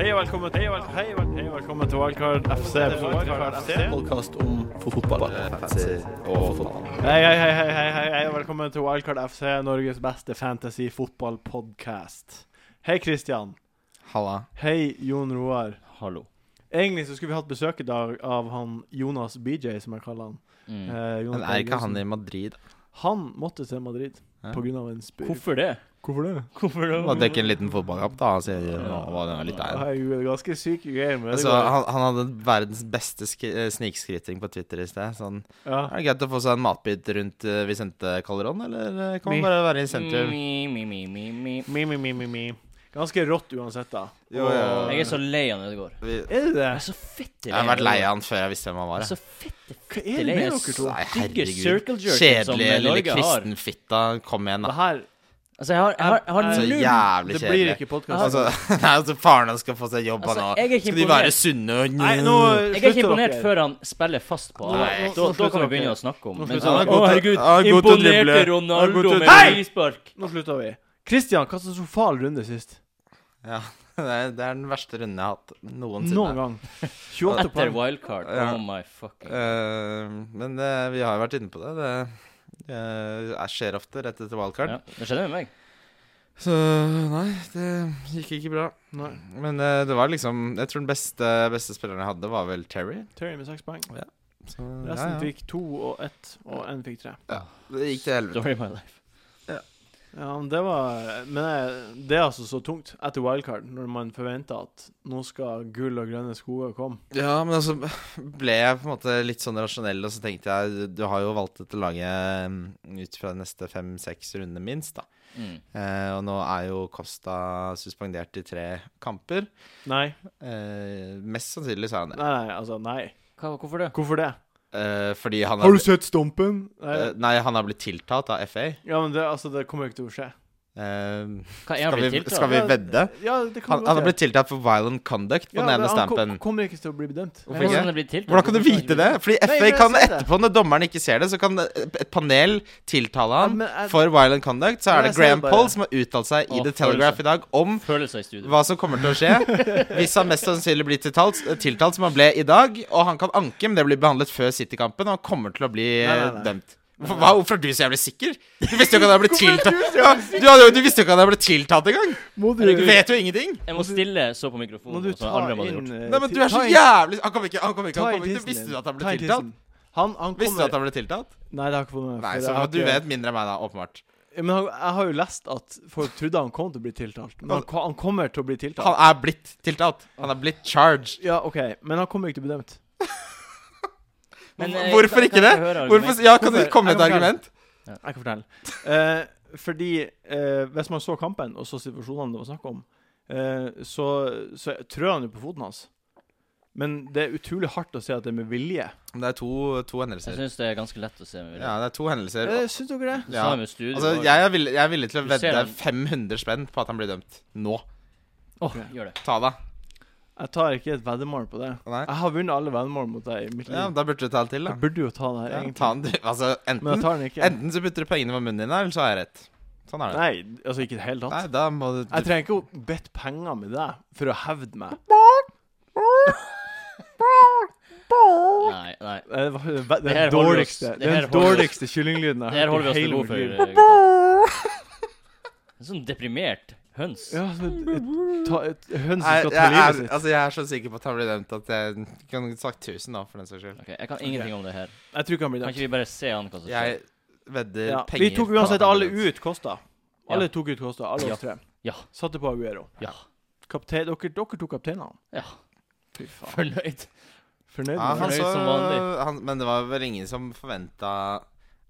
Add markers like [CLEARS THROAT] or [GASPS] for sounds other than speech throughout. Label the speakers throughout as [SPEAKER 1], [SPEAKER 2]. [SPEAKER 1] Hei og velkommen, hei og vel- hei og vel- hei og velkommen til Wildcard FC.
[SPEAKER 2] podkast om for fotball.
[SPEAKER 1] Hei, hei, hei, hei, hei, hei, hei og velkommen til Wildcard FC, Norges beste fantasy-fotball-podkast. Hei, Kristian.
[SPEAKER 2] Halla.
[SPEAKER 1] Hei, Jon Roar.
[SPEAKER 3] Hallo.
[SPEAKER 1] Egentlig så skulle vi hatt besøk i dag av han Jonas BJ, som jeg kaller han.
[SPEAKER 3] Mm.
[SPEAKER 1] Eh, Jonas
[SPEAKER 2] Men er ikke han
[SPEAKER 1] Berg Johnsen.
[SPEAKER 2] i Madrid?
[SPEAKER 1] Han måtte til Madrid
[SPEAKER 2] Ja.
[SPEAKER 1] på grunn av en spyr.
[SPEAKER 3] Hvorfor det?
[SPEAKER 1] Hvorfor det?
[SPEAKER 3] Hvorfor det?
[SPEAKER 2] Må dekke en liten fotballkamp, da. Han sier nå var det litt der.
[SPEAKER 1] Herregud, det er ganske syke greier. Men det
[SPEAKER 2] Altså,
[SPEAKER 1] går.
[SPEAKER 2] han, han hadde verdens beste sk eh, snikskryting på Twitter i sted. Sånn
[SPEAKER 1] Ja.
[SPEAKER 2] Er det greit å få seg en matbit rundt eh, Vicente Calderón, eller eh, kan man
[SPEAKER 1] Mi.
[SPEAKER 2] bare være i sentrum?
[SPEAKER 3] Mi, mi, mi, mi, mi.
[SPEAKER 1] Mi, mi, mi, mi, mi. Ganske rått uansett, da.
[SPEAKER 2] Jo, ja.
[SPEAKER 3] Jeg er så lei av Ødegaard.
[SPEAKER 2] Vi-
[SPEAKER 1] Er det det?
[SPEAKER 3] Jeg er så fette
[SPEAKER 2] Jeg har vært lei av han før jeg visste hvem han
[SPEAKER 3] Jeg
[SPEAKER 2] var.
[SPEAKER 3] er
[SPEAKER 2] jeg.
[SPEAKER 3] så fette,
[SPEAKER 1] Hva
[SPEAKER 3] fette
[SPEAKER 1] er det
[SPEAKER 3] lei
[SPEAKER 1] med
[SPEAKER 3] av
[SPEAKER 1] dere to?
[SPEAKER 2] Nei,
[SPEAKER 3] stygge
[SPEAKER 2] herregud.
[SPEAKER 3] circle jerken som
[SPEAKER 2] Kjedelige lille
[SPEAKER 3] Norge har.
[SPEAKER 2] kristenfitta. Kom igjen,
[SPEAKER 1] Det
[SPEAKER 2] da.
[SPEAKER 1] her
[SPEAKER 3] Altså, jeg har, jeg har, jeg har
[SPEAKER 2] Så
[SPEAKER 3] null
[SPEAKER 2] jævlig
[SPEAKER 1] Det blir
[SPEAKER 2] kjedelig.
[SPEAKER 1] ikke podkast.
[SPEAKER 2] Altså, [LAUGHS] nei, altså, faren hans skal få seg jobb, han
[SPEAKER 3] Altså,
[SPEAKER 2] òg.
[SPEAKER 3] jeg er ikke
[SPEAKER 2] Skal de være
[SPEAKER 3] imponert.
[SPEAKER 2] sunne og
[SPEAKER 1] Nei, nå
[SPEAKER 3] Mm. Jeg er ikke
[SPEAKER 1] slutter
[SPEAKER 3] imponert
[SPEAKER 1] dere.
[SPEAKER 3] før han spiller fast på han.
[SPEAKER 2] Nei.
[SPEAKER 3] Da, da
[SPEAKER 1] Nå
[SPEAKER 3] kan vi
[SPEAKER 1] slutter dere.
[SPEAKER 3] begynne altså. å snakke om
[SPEAKER 1] Nå
[SPEAKER 3] men-
[SPEAKER 1] slutter dere.
[SPEAKER 3] Å, herregud,
[SPEAKER 2] Han er god til å
[SPEAKER 3] imponerte
[SPEAKER 2] drible. Han er god
[SPEAKER 3] Ronaldo
[SPEAKER 2] til å-
[SPEAKER 3] med
[SPEAKER 1] Hei!
[SPEAKER 3] frispark.
[SPEAKER 1] Nå slutter vi. Kristian, katastrofal runde sist.
[SPEAKER 2] Ja, [LAUGHS] det er, det er den verste runden jeg har hatt noensinne.
[SPEAKER 1] Noen gang. 28
[SPEAKER 3] Etter
[SPEAKER 1] poeng.
[SPEAKER 3] wildcard.
[SPEAKER 2] Ja.
[SPEAKER 3] Oh my fucking
[SPEAKER 2] Eh, men eh, vi har jo vært inne på det. Det eh, er- skjer ofte rett etter wildcard.
[SPEAKER 3] ja, Det skjedde med meg.
[SPEAKER 2] Så nei, det gikk ikke bra.
[SPEAKER 1] Nei.
[SPEAKER 2] Men eh, det var liksom Jeg tror den beste, beste spilleren jeg hadde, var vel Terry.
[SPEAKER 1] Terry med seks poeng.
[SPEAKER 2] Så,
[SPEAKER 1] Resten fikk to og ett, og én fikk tre.
[SPEAKER 2] Det gikk til helvete.
[SPEAKER 3] Story of my life.
[SPEAKER 1] Ja, men det var Men jeg- det er altså så tungt etter wildcard, når man forventer at nå skal gull og grønne skoger komme.
[SPEAKER 2] Ja, men altså ble jeg på en måte litt sånn rasjonell, og så tenkte jeg Du har jo valgt dette laget mm, ut fra de neste fem-seks rundene minst, da.
[SPEAKER 3] Mm.
[SPEAKER 2] Eh, og nå er jo Costa suspendert i tre kamper.
[SPEAKER 1] Nei.
[SPEAKER 2] Eh, mest sannsynlig så er han det.
[SPEAKER 1] Nei, nei, altså, nei.
[SPEAKER 3] Hva, hvorfor det?
[SPEAKER 1] Hvorfor det?
[SPEAKER 2] Eh, fordi han
[SPEAKER 1] Har
[SPEAKER 2] har,
[SPEAKER 1] du sett stumpen? Nei.
[SPEAKER 2] eh, nei, han har blitt tiltalt av FA.
[SPEAKER 1] Ja, men det, altså, det kommer jo ikke til å skje.
[SPEAKER 2] Eh,
[SPEAKER 3] Hva er han
[SPEAKER 2] skal,
[SPEAKER 3] blitt
[SPEAKER 2] vi,
[SPEAKER 3] tiltalt?
[SPEAKER 2] skal vi
[SPEAKER 1] Ja,
[SPEAKER 2] vedde?
[SPEAKER 1] Ja, det kan
[SPEAKER 2] Han, han har blitt tiltalt for violent conduct på den ene stampen.
[SPEAKER 1] Han kom- kommer ikke til å bli bedømt.
[SPEAKER 2] Hvorfor
[SPEAKER 3] Men
[SPEAKER 2] ikke?
[SPEAKER 3] hvordan det blir tiltalt?
[SPEAKER 2] Hvordan kan du vite det? Fordi
[SPEAKER 1] Nei,
[SPEAKER 2] FA
[SPEAKER 1] men jeg
[SPEAKER 2] kan
[SPEAKER 1] ser det.
[SPEAKER 2] etterpå, når dommeren ikke ser det, så kan et panel tiltale
[SPEAKER 1] Ja,
[SPEAKER 2] han
[SPEAKER 1] men jeg-
[SPEAKER 2] for violent conduct. Så
[SPEAKER 1] Men
[SPEAKER 2] er det
[SPEAKER 1] jeg ser
[SPEAKER 2] Graham
[SPEAKER 1] det bare. liksom-
[SPEAKER 2] Poll som har uttalt seg i
[SPEAKER 3] Å,
[SPEAKER 2] The Telegraph i dag om
[SPEAKER 3] Følelser i studio.
[SPEAKER 2] hva som kommer til å skje hvis han mest sannsynlig blir tiltalt, tiltalt som han ble i dag. Og han kan anke, men det blir behandlet før City-kampen, og han kommer til å
[SPEAKER 1] Nei,
[SPEAKER 2] bli
[SPEAKER 1] nei, nei.
[SPEAKER 2] dømt. Hvorfor, hva, hvorfor er du så jævlig sikker? Du visste jo ikke at han hadde blitt tiltalt.
[SPEAKER 1] Hvorfor
[SPEAKER 2] Ja, du, hadde, du visste jo ikke at han hadde blitt tiltalt engang!
[SPEAKER 1] Må
[SPEAKER 2] Du vet jo ingenting!
[SPEAKER 3] Jeg må stille så på mikrofonen.
[SPEAKER 1] Må du
[SPEAKER 3] som
[SPEAKER 1] ta
[SPEAKER 3] andre hadde
[SPEAKER 1] inn
[SPEAKER 3] gjort.
[SPEAKER 1] eh,
[SPEAKER 2] Nei, men
[SPEAKER 1] ti-
[SPEAKER 2] du er
[SPEAKER 1] Eh, ta
[SPEAKER 2] så
[SPEAKER 1] inn-
[SPEAKER 2] jævlig Han kom ikke, han kom ikke.
[SPEAKER 1] ta
[SPEAKER 2] Han
[SPEAKER 1] inn
[SPEAKER 2] kom ikke.
[SPEAKER 1] tissen
[SPEAKER 2] Visste
[SPEAKER 1] din.
[SPEAKER 2] du at
[SPEAKER 1] Ta
[SPEAKER 2] han ble
[SPEAKER 1] inn
[SPEAKER 2] tiltalt?
[SPEAKER 1] tissen. Han, han kommer
[SPEAKER 2] Visste du at han ble tiltalt?
[SPEAKER 1] Nei, det har jeg ikke fått med meg.
[SPEAKER 2] Nei,
[SPEAKER 1] for
[SPEAKER 2] så
[SPEAKER 1] jeg har
[SPEAKER 2] du
[SPEAKER 1] ikke-
[SPEAKER 2] vet mindre enn meg, da, åpenbart.
[SPEAKER 1] Ja, Men han, jeg har jo lest at folk trodde han kom til å bli tiltalt. Men han, ko- han kommer til å bli tiltalt.
[SPEAKER 2] Han er blitt tiltalt. Han er blitt charged.
[SPEAKER 1] Ja, OK, men han kommer ikke til å bli dømt.
[SPEAKER 3] Men, eh,
[SPEAKER 2] Hvorfor
[SPEAKER 3] kan-
[SPEAKER 2] ikke
[SPEAKER 3] kan
[SPEAKER 2] det?
[SPEAKER 3] jeg høre argument?
[SPEAKER 2] Hvorfor, ja, kan du
[SPEAKER 1] Hvorfor?
[SPEAKER 2] komme med et
[SPEAKER 1] Jeg kan
[SPEAKER 2] argument?
[SPEAKER 1] Jeg kan fortelle. Eh, fordi eh, hvis man så kampen, og så situasjonene det var snakk om, eh, så, så trør han jo på foten hans. Men det er utrolig hardt å se at det er med vilje.
[SPEAKER 2] Det er to, to
[SPEAKER 3] Jeg
[SPEAKER 2] hendelser.
[SPEAKER 3] syns det er ganske lett å se. med vilje.
[SPEAKER 2] Ja, det er to hendelser.
[SPEAKER 1] Eh, syns dere det?
[SPEAKER 3] Du
[SPEAKER 2] ja.
[SPEAKER 3] sa det med studio.
[SPEAKER 2] Altså,
[SPEAKER 3] også.
[SPEAKER 2] jeg er, villig, jeg er villig til å
[SPEAKER 3] Du ser
[SPEAKER 2] vedde
[SPEAKER 3] den.
[SPEAKER 2] 500 spenn på at han blir dømt. Nå.
[SPEAKER 3] Åh, gjør det.
[SPEAKER 2] Ta det.
[SPEAKER 1] Jeg tar ikke et veddemål på det.
[SPEAKER 2] Nei.
[SPEAKER 1] Jeg har vunnet alle veddemål mot deg i mitt liv.
[SPEAKER 2] Ja, da burde du ta det til, da.
[SPEAKER 1] Jeg burde jo ta det her,
[SPEAKER 2] Ja,
[SPEAKER 1] egentlig.
[SPEAKER 2] ta den, du. Altså,
[SPEAKER 1] Men jeg
[SPEAKER 2] enten,
[SPEAKER 1] tar den ikke.
[SPEAKER 2] enten så putter du pengene på munnen din, eller så har jeg rett. Sånn er det.
[SPEAKER 1] Nei, altså ikke i det hele
[SPEAKER 2] Nei,
[SPEAKER 1] tatt.
[SPEAKER 2] da må du,
[SPEAKER 1] Jeg
[SPEAKER 2] du
[SPEAKER 1] trenger ikke å bedt penger med deg for å hevde
[SPEAKER 3] [LAUGHS]
[SPEAKER 1] meg.
[SPEAKER 3] Nei, nei.
[SPEAKER 1] Det var det var-
[SPEAKER 3] Det
[SPEAKER 1] den
[SPEAKER 3] her holder oss-
[SPEAKER 1] dårligste,
[SPEAKER 3] det her
[SPEAKER 1] den
[SPEAKER 3] holder oss-
[SPEAKER 1] dårligste kyllinglyden jeg
[SPEAKER 3] Det her
[SPEAKER 1] har hørt
[SPEAKER 3] holder
[SPEAKER 1] i
[SPEAKER 3] vi oss
[SPEAKER 1] hele
[SPEAKER 3] for
[SPEAKER 1] mitt
[SPEAKER 3] gode
[SPEAKER 1] liv.
[SPEAKER 3] for. eh, En sånn deprimert høns.
[SPEAKER 1] Ja, altså, et, et, ta, et høns som
[SPEAKER 2] Nei,
[SPEAKER 1] skal ta
[SPEAKER 2] jeg,
[SPEAKER 1] livet
[SPEAKER 2] er,
[SPEAKER 1] sitt.
[SPEAKER 2] altså, jeg er så sikker på at han blir dømt at jeg kunne sagt 1000, da, for den saks skyld.
[SPEAKER 3] Ok, Jeg kan ingenting om det her.
[SPEAKER 1] Jeg tror ikke han blir
[SPEAKER 3] Kan
[SPEAKER 1] dømt.
[SPEAKER 3] ikke vi bare se an hva som skjer?
[SPEAKER 2] Jeg vedder
[SPEAKER 1] Ja.
[SPEAKER 2] penger
[SPEAKER 1] Vi tok
[SPEAKER 2] på at
[SPEAKER 1] uansett
[SPEAKER 2] han
[SPEAKER 1] alle
[SPEAKER 2] blir dømt.
[SPEAKER 1] ut Kosta. Alle tok ut Kosta, alle
[SPEAKER 3] Ja.
[SPEAKER 1] oss tre.
[SPEAKER 3] Ja.
[SPEAKER 1] Satte på Aguero.
[SPEAKER 3] Ja.
[SPEAKER 1] Kaptein, dere, dere tok kapteinene.
[SPEAKER 3] Ja.
[SPEAKER 1] Fy faen.
[SPEAKER 3] Fornøyd.
[SPEAKER 1] Fornøyd
[SPEAKER 2] Ja,
[SPEAKER 1] med
[SPEAKER 2] han
[SPEAKER 1] det?
[SPEAKER 3] Fornøyd
[SPEAKER 2] så,
[SPEAKER 3] som vanlig.
[SPEAKER 2] han, men det var vel ingen som forventa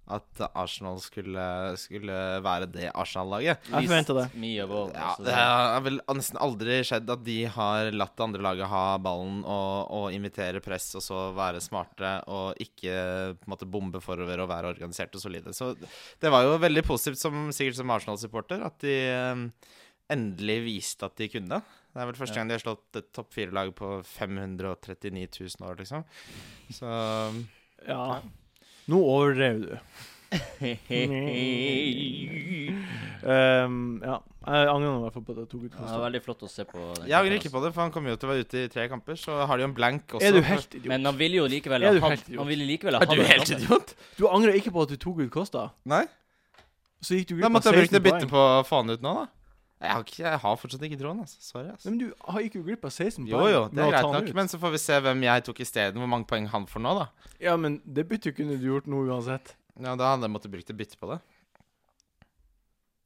[SPEAKER 2] at Arsenal skulle, skulle være det Arsenal-laget.
[SPEAKER 1] Jeg forventet det.
[SPEAKER 3] Me above.
[SPEAKER 2] Ja,
[SPEAKER 3] altså,
[SPEAKER 2] det har vel nesten aldri skjedd at de har latt det andre laget ha ballen og, og invitere press, og så være smarte og ikke på en måte bombe forover og være organiserte og solide. Så det var jo veldig positivt, som, sikkert som Arsenal-supporter, at de eh, endelig viste at de kunne. Det er vel første
[SPEAKER 3] Ja.
[SPEAKER 2] gang de har slått et topp fire-lag på 539 000 år, liksom. Så
[SPEAKER 1] Ja. Nå overdrev du.
[SPEAKER 3] det.
[SPEAKER 1] Ehm, ja. Jeg angrer nå i hvert fall på at jeg tok ut
[SPEAKER 3] Det var
[SPEAKER 1] Costa.
[SPEAKER 3] veldig flott å se på. den altså.
[SPEAKER 2] Jeg angrer
[SPEAKER 3] kampen,
[SPEAKER 2] ikke på det, for han kommer jo til å være ute i tre kamper. Så har de jo en blank også.
[SPEAKER 1] Er du helt
[SPEAKER 3] altså.
[SPEAKER 1] idiot?
[SPEAKER 3] Men han ville jo likevel
[SPEAKER 1] Er
[SPEAKER 3] ha
[SPEAKER 1] du
[SPEAKER 3] han,
[SPEAKER 1] helt idiot?
[SPEAKER 3] han ville likevel ha
[SPEAKER 2] Er du
[SPEAKER 3] han altså. i
[SPEAKER 2] helt
[SPEAKER 3] kampen.
[SPEAKER 2] idiot?
[SPEAKER 1] Du angrer ikke på at du tok ut Costa?
[SPEAKER 2] Nei?
[SPEAKER 1] Så gikk du ut
[SPEAKER 2] Da
[SPEAKER 1] med
[SPEAKER 2] måtte jeg bruke
[SPEAKER 1] 16
[SPEAKER 2] det
[SPEAKER 1] poeng.
[SPEAKER 2] byttet på å få han ut nå, da. Jeg har, ikke, jeg har fortsatt ikke troen, altså. Sorry,
[SPEAKER 1] Nei,
[SPEAKER 2] altså.
[SPEAKER 1] Men du har- gikk jo glipp av 16
[SPEAKER 2] Jo,
[SPEAKER 1] poeng
[SPEAKER 2] jo, det
[SPEAKER 1] med
[SPEAKER 2] er
[SPEAKER 1] å ta
[SPEAKER 2] greit
[SPEAKER 1] han
[SPEAKER 2] nok.
[SPEAKER 1] ut.
[SPEAKER 2] Men så får vi se hvem jeg tok isteden. Hvor mange poeng han får nå, da.
[SPEAKER 1] Ja, men det byttet kunne du gjort nå uansett.
[SPEAKER 2] Ja, da hadde jeg måttet brukt et bytte på det.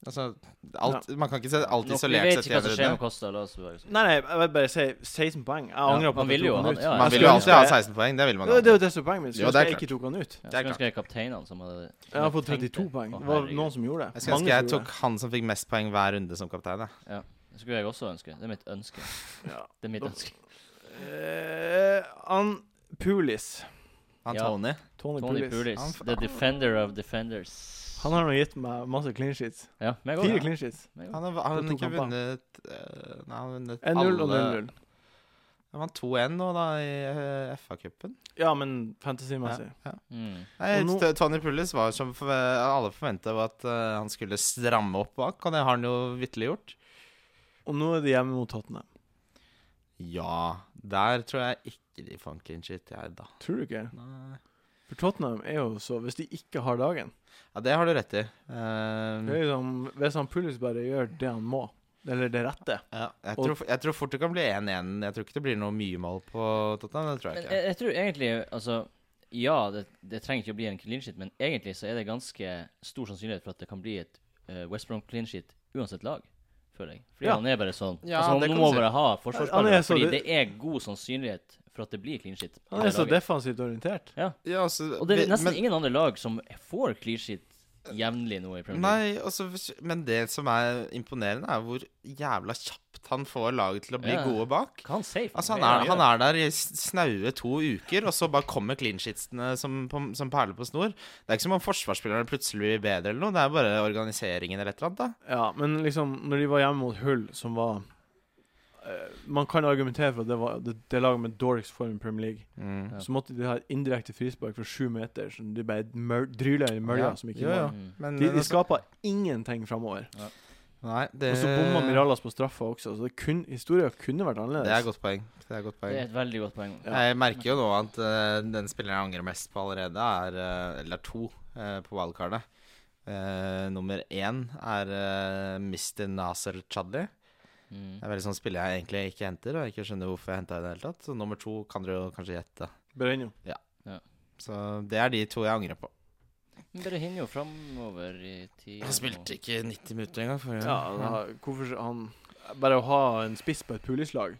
[SPEAKER 2] Altså, alt, man kan ikke se alt
[SPEAKER 3] Nå, Vi
[SPEAKER 2] isolert
[SPEAKER 3] vet
[SPEAKER 2] sett i
[SPEAKER 3] ikke hva
[SPEAKER 2] en
[SPEAKER 3] som skjer med
[SPEAKER 2] runde.
[SPEAKER 3] Costa. La oss sånn. bare
[SPEAKER 1] Nei, nei, jeg vil bare si 16 poeng. Jeg angrer på
[SPEAKER 3] man
[SPEAKER 1] at jeg
[SPEAKER 3] vil jo
[SPEAKER 1] tok
[SPEAKER 3] ha-
[SPEAKER 1] han ut.
[SPEAKER 3] ja, ja.
[SPEAKER 2] Man
[SPEAKER 1] Jeg
[SPEAKER 2] vil jo
[SPEAKER 1] skulle
[SPEAKER 2] alltid ha
[SPEAKER 1] ønske-
[SPEAKER 2] 16 poeng. Det vil
[SPEAKER 1] Ja,
[SPEAKER 2] man
[SPEAKER 1] Det er
[SPEAKER 2] alltid.
[SPEAKER 1] jo det som er poenget mitt. Skulle
[SPEAKER 2] Jo, det
[SPEAKER 1] ønske jeg
[SPEAKER 2] er
[SPEAKER 1] ikke
[SPEAKER 2] klart.
[SPEAKER 1] tok han ut.
[SPEAKER 2] Det
[SPEAKER 3] Jeg
[SPEAKER 2] er
[SPEAKER 3] skulle ønske jeg kapteinene som hadde
[SPEAKER 1] Jeg har fått 32 poeng. Det var noen som gjorde det.
[SPEAKER 2] Jeg skulle
[SPEAKER 1] Mange
[SPEAKER 2] ønske jeg
[SPEAKER 1] som gjorde
[SPEAKER 2] tok han som fikk mest poeng hver runde som kaptein. jeg.
[SPEAKER 3] Det skulle jeg også ønske. Det er mitt ønske.
[SPEAKER 1] det. Ja.
[SPEAKER 3] Det er mitt
[SPEAKER 1] Da-
[SPEAKER 3] ønske.
[SPEAKER 1] Eh, han Pulis.
[SPEAKER 2] Han
[SPEAKER 3] Ja.
[SPEAKER 2] Tony.
[SPEAKER 1] Tony,
[SPEAKER 3] Tony
[SPEAKER 1] Pulis.
[SPEAKER 2] Han
[SPEAKER 3] Pulis,
[SPEAKER 2] f-
[SPEAKER 3] the defender of defenders.
[SPEAKER 1] Han har nå gitt meg masse clean sheets.
[SPEAKER 3] Ja, meg
[SPEAKER 1] Fire
[SPEAKER 3] òg.
[SPEAKER 1] clean sheets.
[SPEAKER 2] Han har, han har
[SPEAKER 1] To
[SPEAKER 2] ikke
[SPEAKER 1] kamper.
[SPEAKER 2] vunnet eh, Nei, han har vunnet
[SPEAKER 1] 1-0 og
[SPEAKER 2] alle
[SPEAKER 1] 0-0.
[SPEAKER 2] Han vant 2-1 nå, da, i eh, FA-cupen.
[SPEAKER 1] Ja, men fantasymessig.
[SPEAKER 2] Ja.
[SPEAKER 3] Mm.
[SPEAKER 2] Nei,
[SPEAKER 1] Og nå-
[SPEAKER 2] T- Tony Pullis var som forve- alle forventa at eh, han skulle stramme opp bak, og det har han jo vitterlig gjort.
[SPEAKER 1] Og nå er det hjemme mot Tottenham.
[SPEAKER 2] Ja, der tror jeg ikke de får en clean shit, jeg, da.
[SPEAKER 1] Tror du ikke?
[SPEAKER 2] Nei.
[SPEAKER 1] For Tottenham er jo så Hvis de ikke har dagen
[SPEAKER 2] Ja, det har du rett i. Ehm,
[SPEAKER 1] det er liksom, Hvis han Pulis bare gjør det han må, eller det rette
[SPEAKER 2] ja, jeg,
[SPEAKER 1] og-
[SPEAKER 2] tror, jeg tror fort det kan bli 1-1. Jeg tror ikke det blir noe mye mål på Tottenham. Det tror jeg
[SPEAKER 3] Men eh,
[SPEAKER 2] ikke.
[SPEAKER 3] jeg, jeg tror egentlig Altså, ja, det, det trenger ikke å bli en clean sheet, men egentlig så er det ganske stor sannsynlighet for at det kan bli et eh, West Brom clean sheet uansett lag, føler jeg. Fordi
[SPEAKER 1] Ja.
[SPEAKER 3] han er bare sånn.
[SPEAKER 2] Ja,
[SPEAKER 3] altså,
[SPEAKER 2] det
[SPEAKER 3] han
[SPEAKER 2] kan
[SPEAKER 3] nå må
[SPEAKER 2] du si.
[SPEAKER 3] bare ha
[SPEAKER 1] Han
[SPEAKER 3] forsvarsspillere,
[SPEAKER 1] er så-
[SPEAKER 3] fordi det er god sannsynlighet for at det blir clean sheet. i
[SPEAKER 1] Han er
[SPEAKER 3] det
[SPEAKER 1] så
[SPEAKER 3] laget.
[SPEAKER 1] defensivt orientert.
[SPEAKER 2] Ja, altså,
[SPEAKER 3] Og det
[SPEAKER 2] vi-
[SPEAKER 3] er nesten
[SPEAKER 2] men-
[SPEAKER 3] ingen andre lag som får clean sheet jevnlig nå i Premier League.
[SPEAKER 2] Nei, altså, hvis- men det som er imponerende, er hvor jævla kjapt han får laget til å bli
[SPEAKER 3] Ja.
[SPEAKER 2] gode bak.
[SPEAKER 3] Hva han sier?
[SPEAKER 2] Altså, han er, han er der i s- snaue to uker, og så bare kommer clean sheetsene som, på- som perler på snor. Det er ikke som om forsvarsspillerne plutselig blir bedre eller noe, det er bare organiseringen eller et eller annet, da.
[SPEAKER 1] Ja, men liksom, når de var hjemme mot Hull, som var eh, Man kan argumentere for at det var det, det laget med dårligst form i Premier League.
[SPEAKER 2] Mm.
[SPEAKER 3] Ja.
[SPEAKER 1] Så måtte de ha et indirekte frispark fra sju meter, så de ble mør- dryla i mølja
[SPEAKER 2] Ja,
[SPEAKER 1] som ikke
[SPEAKER 2] jo,
[SPEAKER 1] var
[SPEAKER 2] jo.
[SPEAKER 3] Mm.
[SPEAKER 2] Men, altså-
[SPEAKER 1] De, de skapa ingenting framover.
[SPEAKER 2] Nei, det,
[SPEAKER 1] Og så bomma Mirallas på straffa også, så det kun, historia kunne vært
[SPEAKER 2] Det er
[SPEAKER 1] annerledes.
[SPEAKER 2] et godt poeng. Det er et godt
[SPEAKER 3] Det
[SPEAKER 2] poeng.
[SPEAKER 3] er et veldig godt poeng.
[SPEAKER 1] altså. Ja.
[SPEAKER 2] Jeg merker jo nå at eh, den spilleren jeg angrer mest på allerede, er eh, Eller er to eh, på wildcardet. Eh, nummer én er eh, Mr. Nasser Chadli.
[SPEAKER 3] Mm.
[SPEAKER 2] Det er veldig sånn spiller jeg egentlig ikke henter, og jeg ikke skjønner hvorfor jeg henta i det hele tatt. Så nummer to kan dere jo kanskje gjette.
[SPEAKER 1] Berenio.
[SPEAKER 2] Så det er de to jeg angrer på.
[SPEAKER 3] Men Bare hinner jo framover i tid.
[SPEAKER 2] Han spilte ikke 90 minutter engang. forrige
[SPEAKER 1] Ja,
[SPEAKER 2] gang.
[SPEAKER 1] da, hvorfor s- han Bare å ha en spiss på et pulislag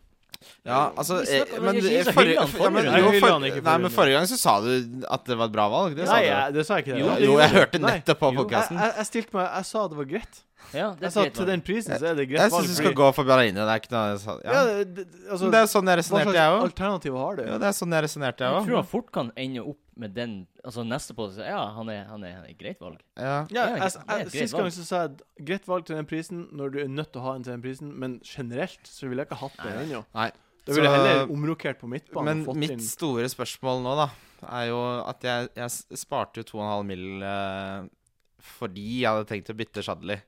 [SPEAKER 2] ja, altså
[SPEAKER 3] Vi
[SPEAKER 2] eh,
[SPEAKER 3] snakker om
[SPEAKER 2] men,
[SPEAKER 3] at jeg
[SPEAKER 2] eh,
[SPEAKER 3] ikke
[SPEAKER 2] forrige,
[SPEAKER 3] hyller han
[SPEAKER 2] for- ja,
[SPEAKER 3] forrige
[SPEAKER 1] runde.
[SPEAKER 2] men, jo,
[SPEAKER 1] Jeg hyller han
[SPEAKER 2] forrige-
[SPEAKER 1] ikke
[SPEAKER 2] nei,
[SPEAKER 1] forrige
[SPEAKER 2] men forrige gang så sa du at det var et bra valg. Det sa
[SPEAKER 1] Nei,
[SPEAKER 2] du.
[SPEAKER 1] jeg, det sa jeg ikke. det
[SPEAKER 2] Jo,
[SPEAKER 1] da.
[SPEAKER 2] jo, jeg hørte
[SPEAKER 1] Nei.
[SPEAKER 2] nettopp på
[SPEAKER 1] Jo,
[SPEAKER 2] podkasten.
[SPEAKER 1] Jeg, jeg, jeg stilte meg Jeg sa det var greit.
[SPEAKER 3] Ja,
[SPEAKER 1] Jeg
[SPEAKER 3] det
[SPEAKER 2] Altså,
[SPEAKER 1] sa
[SPEAKER 3] er
[SPEAKER 1] til den prisen så er det greit.
[SPEAKER 2] Jeg syns du skal gå for Berliner. Det er ikke noe jeg sa-
[SPEAKER 1] Ja,
[SPEAKER 2] ja.
[SPEAKER 1] det, det, altså,
[SPEAKER 2] Det er jo sånn jeg
[SPEAKER 1] Hva
[SPEAKER 2] resonnerte,
[SPEAKER 1] slags
[SPEAKER 2] jeg òg.
[SPEAKER 1] alternativ har du?
[SPEAKER 2] Ja, det er sånn jeg resonnerte, jeg
[SPEAKER 3] Jeg tror
[SPEAKER 2] òg.
[SPEAKER 3] han fort kan ende opp med den Altså neste på det. Ja, han er, han er, han er et greit valg.
[SPEAKER 1] Ja,
[SPEAKER 2] Ja.
[SPEAKER 3] det er
[SPEAKER 1] jeg,
[SPEAKER 3] greit- det er
[SPEAKER 1] jeg,
[SPEAKER 3] et greit
[SPEAKER 1] Sist gang
[SPEAKER 3] valg.
[SPEAKER 1] så sa jeg at greit valg til den prisen når du er nødt til å ha en til den prisen, men generelt så ville jeg ikke hatt det ennå.
[SPEAKER 2] Nei.
[SPEAKER 1] Da ville jeg
[SPEAKER 2] Så-
[SPEAKER 1] heller omrokert på midtbanen.
[SPEAKER 2] Men
[SPEAKER 1] og fått
[SPEAKER 2] mitt
[SPEAKER 1] inn
[SPEAKER 2] store spørsmål nå, da, er jo at jeg, jeg s- sparte jo 2,5 mill. eh, fordi jeg hadde tenkt å bytte Shadley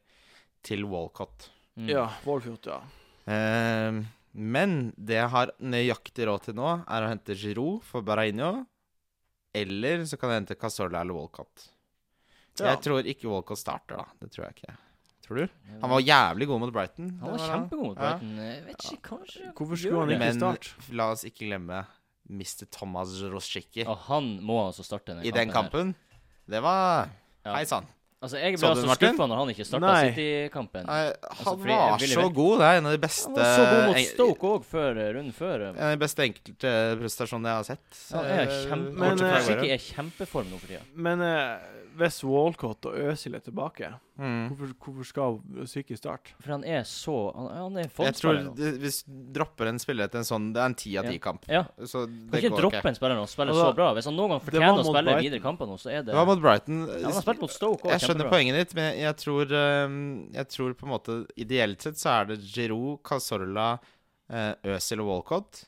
[SPEAKER 2] til Walcott.
[SPEAKER 3] Mm.
[SPEAKER 1] Ja, Wallfjord, ja.
[SPEAKER 2] Eh, men det jeg har nøyaktig råd til nå, er å hente Giroud for Barainho. Eller så kan jeg hente Casorla eller Walcott.
[SPEAKER 1] Ja.
[SPEAKER 2] Jeg tror ikke Walcott starter, da. Det tror jeg ikke. Tror du? Han var jævlig god mot Brighton.
[SPEAKER 3] Han var
[SPEAKER 2] Det
[SPEAKER 3] kjempegod mot
[SPEAKER 2] Ja.
[SPEAKER 3] Brighton. Jeg vet ikke, kanskje
[SPEAKER 1] Hvorfor skulle han ikke
[SPEAKER 2] Men
[SPEAKER 1] starte?
[SPEAKER 2] la oss ikke glemme Mr. Thomas Rosicki
[SPEAKER 3] Og han må altså starte denne
[SPEAKER 2] i den
[SPEAKER 3] her.
[SPEAKER 2] kampen. Det var
[SPEAKER 3] Ja.
[SPEAKER 2] Hei sann.
[SPEAKER 3] Altså, jeg ble
[SPEAKER 2] Så du den,
[SPEAKER 3] altså
[SPEAKER 2] Martin?
[SPEAKER 3] skuffa når han ikke starta
[SPEAKER 1] Nei.
[SPEAKER 3] City-kampen.
[SPEAKER 2] Nei, han
[SPEAKER 3] fordi jeg
[SPEAKER 2] var
[SPEAKER 3] ville
[SPEAKER 2] så
[SPEAKER 3] vekk.
[SPEAKER 2] god. Det er en av de beste
[SPEAKER 3] Han var så god mot
[SPEAKER 2] en-
[SPEAKER 3] Stoke òg, før eh, runden før. eh.
[SPEAKER 2] En av de beste enkeltprestasjonene jeg har sett.
[SPEAKER 3] Så han er
[SPEAKER 2] Eh,
[SPEAKER 3] kjempe...
[SPEAKER 1] Men,
[SPEAKER 2] bortsett
[SPEAKER 1] eh,
[SPEAKER 2] fra i år,
[SPEAKER 3] Rosicky
[SPEAKER 2] ja.
[SPEAKER 3] er kjempeform nå for tida.
[SPEAKER 1] Men eh, hvis Walcott og Øzil er tilbake,
[SPEAKER 2] Mm.
[SPEAKER 1] hvorfor, hvorfor skal Psyki starte?
[SPEAKER 3] For han er så Han, han er
[SPEAKER 2] Jeg tror
[SPEAKER 3] formspiller nå.
[SPEAKER 2] det- hvis du dropper en spiller til en sånn Det er en ti av
[SPEAKER 3] Ja.
[SPEAKER 2] ti-kamp.
[SPEAKER 3] Ja.
[SPEAKER 2] Så det
[SPEAKER 3] Kan ikke
[SPEAKER 2] går
[SPEAKER 3] droppe
[SPEAKER 2] ikke.
[SPEAKER 3] en spiller når han spiller
[SPEAKER 1] Altså,
[SPEAKER 3] så bra. Hvis han noen gang
[SPEAKER 1] det var
[SPEAKER 3] fortjener å
[SPEAKER 1] mot
[SPEAKER 3] spille
[SPEAKER 1] Brighton.
[SPEAKER 3] videre kamper nå, så er det
[SPEAKER 2] Det var mot Brighton.
[SPEAKER 3] ja, Han har spilt mot Stoke òg,
[SPEAKER 2] Jeg skjønner poenget ditt, men jeg tror eh, Jeg tror på en måte Ideelt sett så er det Giroud, Casorla, eh, Øzil og Walcott.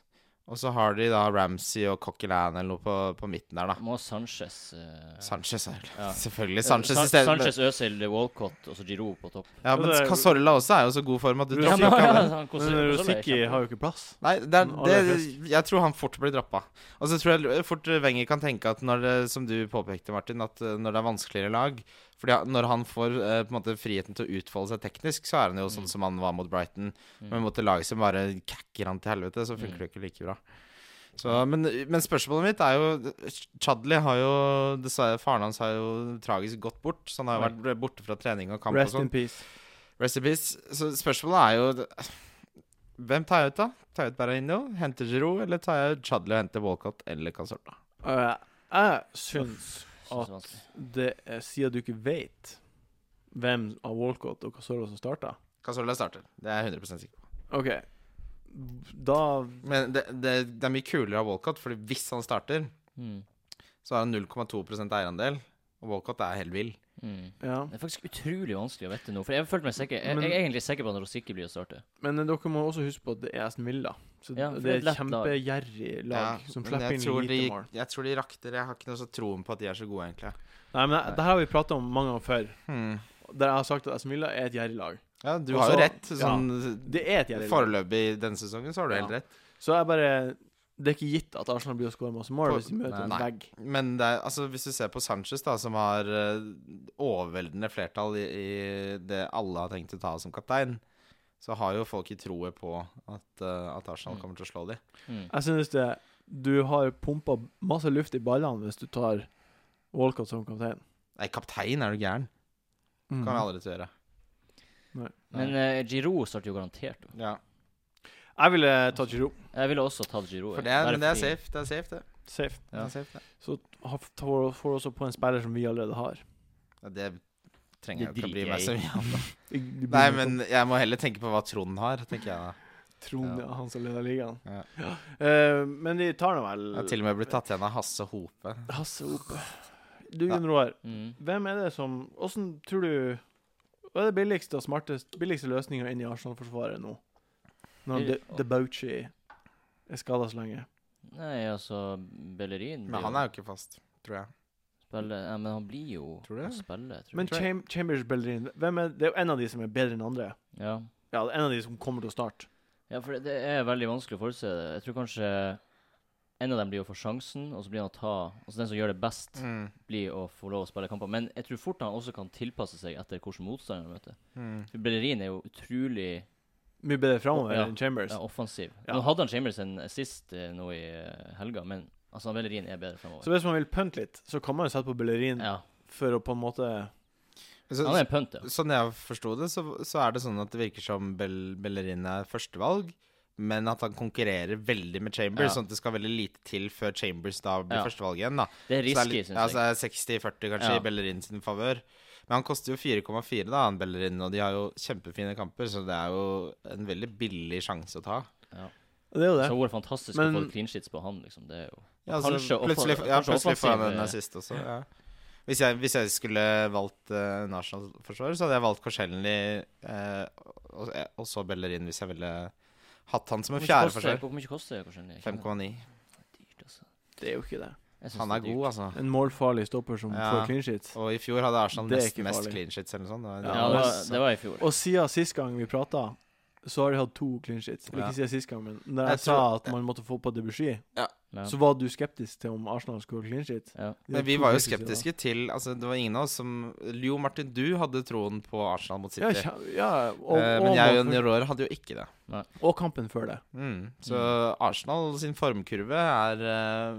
[SPEAKER 2] Og så har de da Ramsey og Coquelin eller noe på, på midten der, da.
[SPEAKER 3] Må Sanchez eh,
[SPEAKER 2] Sanchez er jo klart. [LAUGHS]
[SPEAKER 3] Ja.
[SPEAKER 2] Selvfølgelig. Sanchez
[SPEAKER 3] San-
[SPEAKER 2] i stedet.
[SPEAKER 3] Sanchez, Øzil, Walcott og så Giroud på topp.
[SPEAKER 2] Ja, men Casorla også er jo så god form at du
[SPEAKER 1] Ja,
[SPEAKER 2] dropper
[SPEAKER 1] men-
[SPEAKER 2] jo ikke alle.
[SPEAKER 3] han koser-
[SPEAKER 1] Men
[SPEAKER 3] koser seg
[SPEAKER 1] Rosicky
[SPEAKER 3] Sånn kjempe.
[SPEAKER 1] har jo ikke plass.
[SPEAKER 2] Nei, det
[SPEAKER 1] Mm,
[SPEAKER 2] er,
[SPEAKER 1] aller
[SPEAKER 2] det,
[SPEAKER 1] flest.
[SPEAKER 2] jeg tror han fort blir droppa. Og så tror jeg fort Wenger kan tenke at når det, som du påpekte, Martin, at eh, når det er vanskeligere lag fordi han- når han får eh, på en måte friheten til å utfolde seg teknisk, så er han jo
[SPEAKER 1] Mm.
[SPEAKER 2] sånn som han var mot Brighton. Men mot et lag som bare kakker han til helvete, så
[SPEAKER 1] Mm.
[SPEAKER 2] funker det ikke like bra. Så, men, men spørsmålet mitt er jo Chadley har jo dessverre, Faren hans har jo tragisk gått bort. Så han har jo vært borte fra trening og kamp
[SPEAKER 1] Rest
[SPEAKER 2] og
[SPEAKER 1] in
[SPEAKER 2] sånn.
[SPEAKER 1] peace.
[SPEAKER 2] Rest in peace. Så spørsmålet er jo Hvem tar jeg ut, da? Tar jeg ut Berraino? Henter Giroud? Eller tar jeg ut Chadley og henter Walcott eller Casorla?
[SPEAKER 1] Eh, jeg syns
[SPEAKER 3] Synes det er vanskelig.
[SPEAKER 1] det er, Siden du ikke vet hvem av Walcott og Casorla som starta
[SPEAKER 2] Casorla starter, det er jeg 100 sikker på.
[SPEAKER 1] OK, da
[SPEAKER 2] Men det, det, det er mye kulere av Walcott, Fordi hvis han starter,
[SPEAKER 3] Mm.
[SPEAKER 2] så har han 0,2 eierandel. Og Walcott er helt vill.
[SPEAKER 3] Mm.
[SPEAKER 1] Ja.
[SPEAKER 3] Det er faktisk utrolig vanskelig å vite nå. For jeg følte meg sikker Jeg,
[SPEAKER 1] Men-
[SPEAKER 3] jeg er egentlig sikker på at Rosicky blir å starte.
[SPEAKER 1] Men eh, dere må også huske på at det er Aston Villa. Så
[SPEAKER 3] Ja,
[SPEAKER 1] det
[SPEAKER 3] for det er
[SPEAKER 1] er
[SPEAKER 3] et
[SPEAKER 1] et
[SPEAKER 3] lett
[SPEAKER 1] kjempegjerrig lag som
[SPEAKER 2] men
[SPEAKER 1] slipper
[SPEAKER 2] jeg
[SPEAKER 1] inn
[SPEAKER 2] tror
[SPEAKER 1] lite
[SPEAKER 2] de,
[SPEAKER 1] mål.
[SPEAKER 2] Jeg tror de rakter Jeg har ikke noe så troen på at de er så gode, egentlig.
[SPEAKER 1] Nei, men det, det her har vi prata om mange ganger før,
[SPEAKER 2] Hmm.
[SPEAKER 1] der jeg har sagt at Aston Villa er et gjerrig lag.
[SPEAKER 2] Ja, du
[SPEAKER 1] Og
[SPEAKER 2] har jo
[SPEAKER 1] så-
[SPEAKER 2] rett. Sånn,
[SPEAKER 1] Det er et gjerrig lag.
[SPEAKER 2] Foreløpig denne sesongen så har du helt
[SPEAKER 1] Ja.
[SPEAKER 2] rett.
[SPEAKER 1] Så jeg bare Det er ikke gitt at Arsenal blir å skåre masse mål
[SPEAKER 2] For-
[SPEAKER 1] hvis de møter en
[SPEAKER 2] Nei.
[SPEAKER 1] vegg.
[SPEAKER 2] Men det er, altså, hvis du ser på Sanchez, da, som har eh, overveldende flertall i, i det alle har tenkt å ta som kaptein, så har jo folk i troet på at, eh, at Arsenal
[SPEAKER 3] Mm.
[SPEAKER 2] kommer til å slå dem.
[SPEAKER 3] Mm.
[SPEAKER 1] Jeg synes det Du har pumpa masse luft i ballene hvis du tar Walcott som kaptein.
[SPEAKER 2] Nei, kaptein er du gæren.
[SPEAKER 1] Mm.
[SPEAKER 2] Kan vi aldri til å gjøre.
[SPEAKER 3] Men eh, Giroud starter jo garantert. da.
[SPEAKER 2] Ja.
[SPEAKER 1] Jeg ville tatt Giroud.
[SPEAKER 3] Jeg ville også tatt Giroud.
[SPEAKER 2] For det er,
[SPEAKER 3] bare
[SPEAKER 2] men det er
[SPEAKER 3] fordi-
[SPEAKER 2] safe, det er safe, det.
[SPEAKER 1] Safe.
[SPEAKER 2] Det, er safe, det.
[SPEAKER 1] Så ha- tar- får også på en spiller som vi allerede har.
[SPEAKER 2] Ja, det trenger jeg
[SPEAKER 3] Det
[SPEAKER 2] ikke å bry
[SPEAKER 3] driter
[SPEAKER 2] meg så
[SPEAKER 3] jeg
[SPEAKER 2] mye om. [LAUGHS] da.
[SPEAKER 1] Det- det blir
[SPEAKER 2] Nei,
[SPEAKER 1] noe
[SPEAKER 2] men jeg må heller tenke på hva Trond har, tenker jeg da.
[SPEAKER 1] Trond, ja. han som leder ligaen.
[SPEAKER 2] Ja.
[SPEAKER 1] Eh, men de tar nå vel
[SPEAKER 2] Jeg har til og med blitt tatt igjen av Hasse Hope.
[SPEAKER 1] Hasse opp. Du,
[SPEAKER 2] Ja.
[SPEAKER 1] Gunn Roar.
[SPEAKER 3] Mm.
[SPEAKER 1] Hvem er det som Åssen tror du Hva er det billigste og smarteste billigste løsninga inn i Arsenal-forsvaret nå? Når De- Debauchi er skada så lenge.
[SPEAKER 3] Nei, altså Bellerin blir
[SPEAKER 2] Men han er jo ikke fast, tror jeg.
[SPEAKER 3] spille, ja, Men han blir jo
[SPEAKER 2] Tror du
[SPEAKER 3] å
[SPEAKER 2] det?
[SPEAKER 3] spille, tror
[SPEAKER 1] Men
[SPEAKER 3] jeg.
[SPEAKER 1] Cham Chambers Bellerin hvem er, Det er jo en av de som er bedre enn andre.
[SPEAKER 3] Ja.
[SPEAKER 1] Ja, det er en av de som kommer til å starte.
[SPEAKER 3] ja, for det, det er veldig vanskelig å forutse det. Jeg tror kanskje en av dem blir å få sjansen, og så blir han å ta Altså den som gjør det best,
[SPEAKER 2] Mm.
[SPEAKER 3] blir å få lov å spille kamper. Men jeg tror fort han også kan tilpasse seg etter hvilken motstander han møter.
[SPEAKER 2] Mm.
[SPEAKER 3] For Bellerin er jo utrolig
[SPEAKER 1] Mye bedre framover
[SPEAKER 3] Ja.
[SPEAKER 1] enn Chambers.
[SPEAKER 3] ja, offensiv.
[SPEAKER 1] Ja.
[SPEAKER 3] Nå hadde han Chambers en assist eh, nå i eh, helga, men altså han Bellerin er bedre
[SPEAKER 1] Så
[SPEAKER 3] fremover.
[SPEAKER 1] hvis man vil pønte litt, så kan man jo sette på Bellerin
[SPEAKER 3] Ja,
[SPEAKER 1] for å på en måte
[SPEAKER 2] Så,
[SPEAKER 3] han er en punt, ja.
[SPEAKER 2] sånn jeg forsto det, så, så er det sånn at det virker som Bell, Bellerin er førstevalg, men at han konkurrerer veldig med Chambers,
[SPEAKER 3] Ja.
[SPEAKER 2] sånn at det skal veldig lite til før Chambers da blir
[SPEAKER 3] Ja.
[SPEAKER 2] førstevalg igjen. da.
[SPEAKER 3] Det
[SPEAKER 2] så det er,
[SPEAKER 3] er risky,
[SPEAKER 2] litt- ja,
[SPEAKER 3] syns
[SPEAKER 2] så
[SPEAKER 3] jeg.
[SPEAKER 2] er det 60-40 kanskje
[SPEAKER 3] Ja.
[SPEAKER 2] i Bellerin sin favør. Men han koster jo 4,4 da, han Bellerin, og de har jo kjempefine kamper, så det er jo en veldig billig sjanse å ta.
[SPEAKER 1] Det er jo det.
[SPEAKER 3] Så hvor fantastisk
[SPEAKER 1] Men-
[SPEAKER 3] å få clean shits på han, liksom. Det er jo
[SPEAKER 2] Ja, altså,
[SPEAKER 3] Kanskje offer-
[SPEAKER 2] plutselig, ja,
[SPEAKER 3] kanskje
[SPEAKER 2] plutselig får han
[SPEAKER 3] offensiv,
[SPEAKER 2] en
[SPEAKER 3] eh,
[SPEAKER 2] assist også. Ja. Hvis, jeg, hvis jeg skulle valgt uh, nasjonalforsvarer, så hadde jeg valgt Korselny eh, og, og så Bellerin, hvis jeg ville hatt han som en
[SPEAKER 3] Hvor mye koster-
[SPEAKER 2] fjerdeforsvarer.
[SPEAKER 3] Hvor mye koster det, kanskje? Jeg kjenner-
[SPEAKER 2] 5,9.
[SPEAKER 3] Dyrt, altså.
[SPEAKER 1] Det er jo ikke det.
[SPEAKER 3] Jeg synes
[SPEAKER 2] Han
[SPEAKER 3] det
[SPEAKER 2] er god,
[SPEAKER 3] dyrt.
[SPEAKER 2] altså.
[SPEAKER 1] En målfarlig stopper som
[SPEAKER 2] Ja.
[SPEAKER 1] får clean sheets.
[SPEAKER 2] Og i fjor hadde Arsenal
[SPEAKER 1] Det er
[SPEAKER 2] nest
[SPEAKER 1] ikke
[SPEAKER 2] mest
[SPEAKER 1] farlig.
[SPEAKER 2] clean shits eller noe sånt. Det var-
[SPEAKER 3] Ja,
[SPEAKER 1] Ja,
[SPEAKER 3] det, var,
[SPEAKER 1] men-
[SPEAKER 3] det var i fjor.
[SPEAKER 1] Og siden sist gang vi prata, så har de hatt to clean sheets. Eller
[SPEAKER 2] Ja.
[SPEAKER 1] ikke siden sist gang, men da
[SPEAKER 2] Jeg
[SPEAKER 1] jeg, sa
[SPEAKER 2] tror-
[SPEAKER 1] at man måtte få på Debussy,
[SPEAKER 3] Ja.
[SPEAKER 1] så var du skeptisk til om Arsenal skulle ha clean sheet.
[SPEAKER 3] Ja.
[SPEAKER 1] De
[SPEAKER 2] Men
[SPEAKER 1] har
[SPEAKER 2] vi
[SPEAKER 1] to
[SPEAKER 2] var jo
[SPEAKER 1] clean sheets i dag.
[SPEAKER 2] skeptiske til altså, Det var ingen av oss som Leo Martin, du hadde troen på Arsenal mot City.
[SPEAKER 1] Ja, kjem- ja og,
[SPEAKER 2] Eh,
[SPEAKER 1] og,
[SPEAKER 2] men jeg og
[SPEAKER 1] og,
[SPEAKER 2] Njoror hadde jo ikke det.
[SPEAKER 1] kampen før det.
[SPEAKER 2] Mm. Så Arsenal sin formkurve er eh,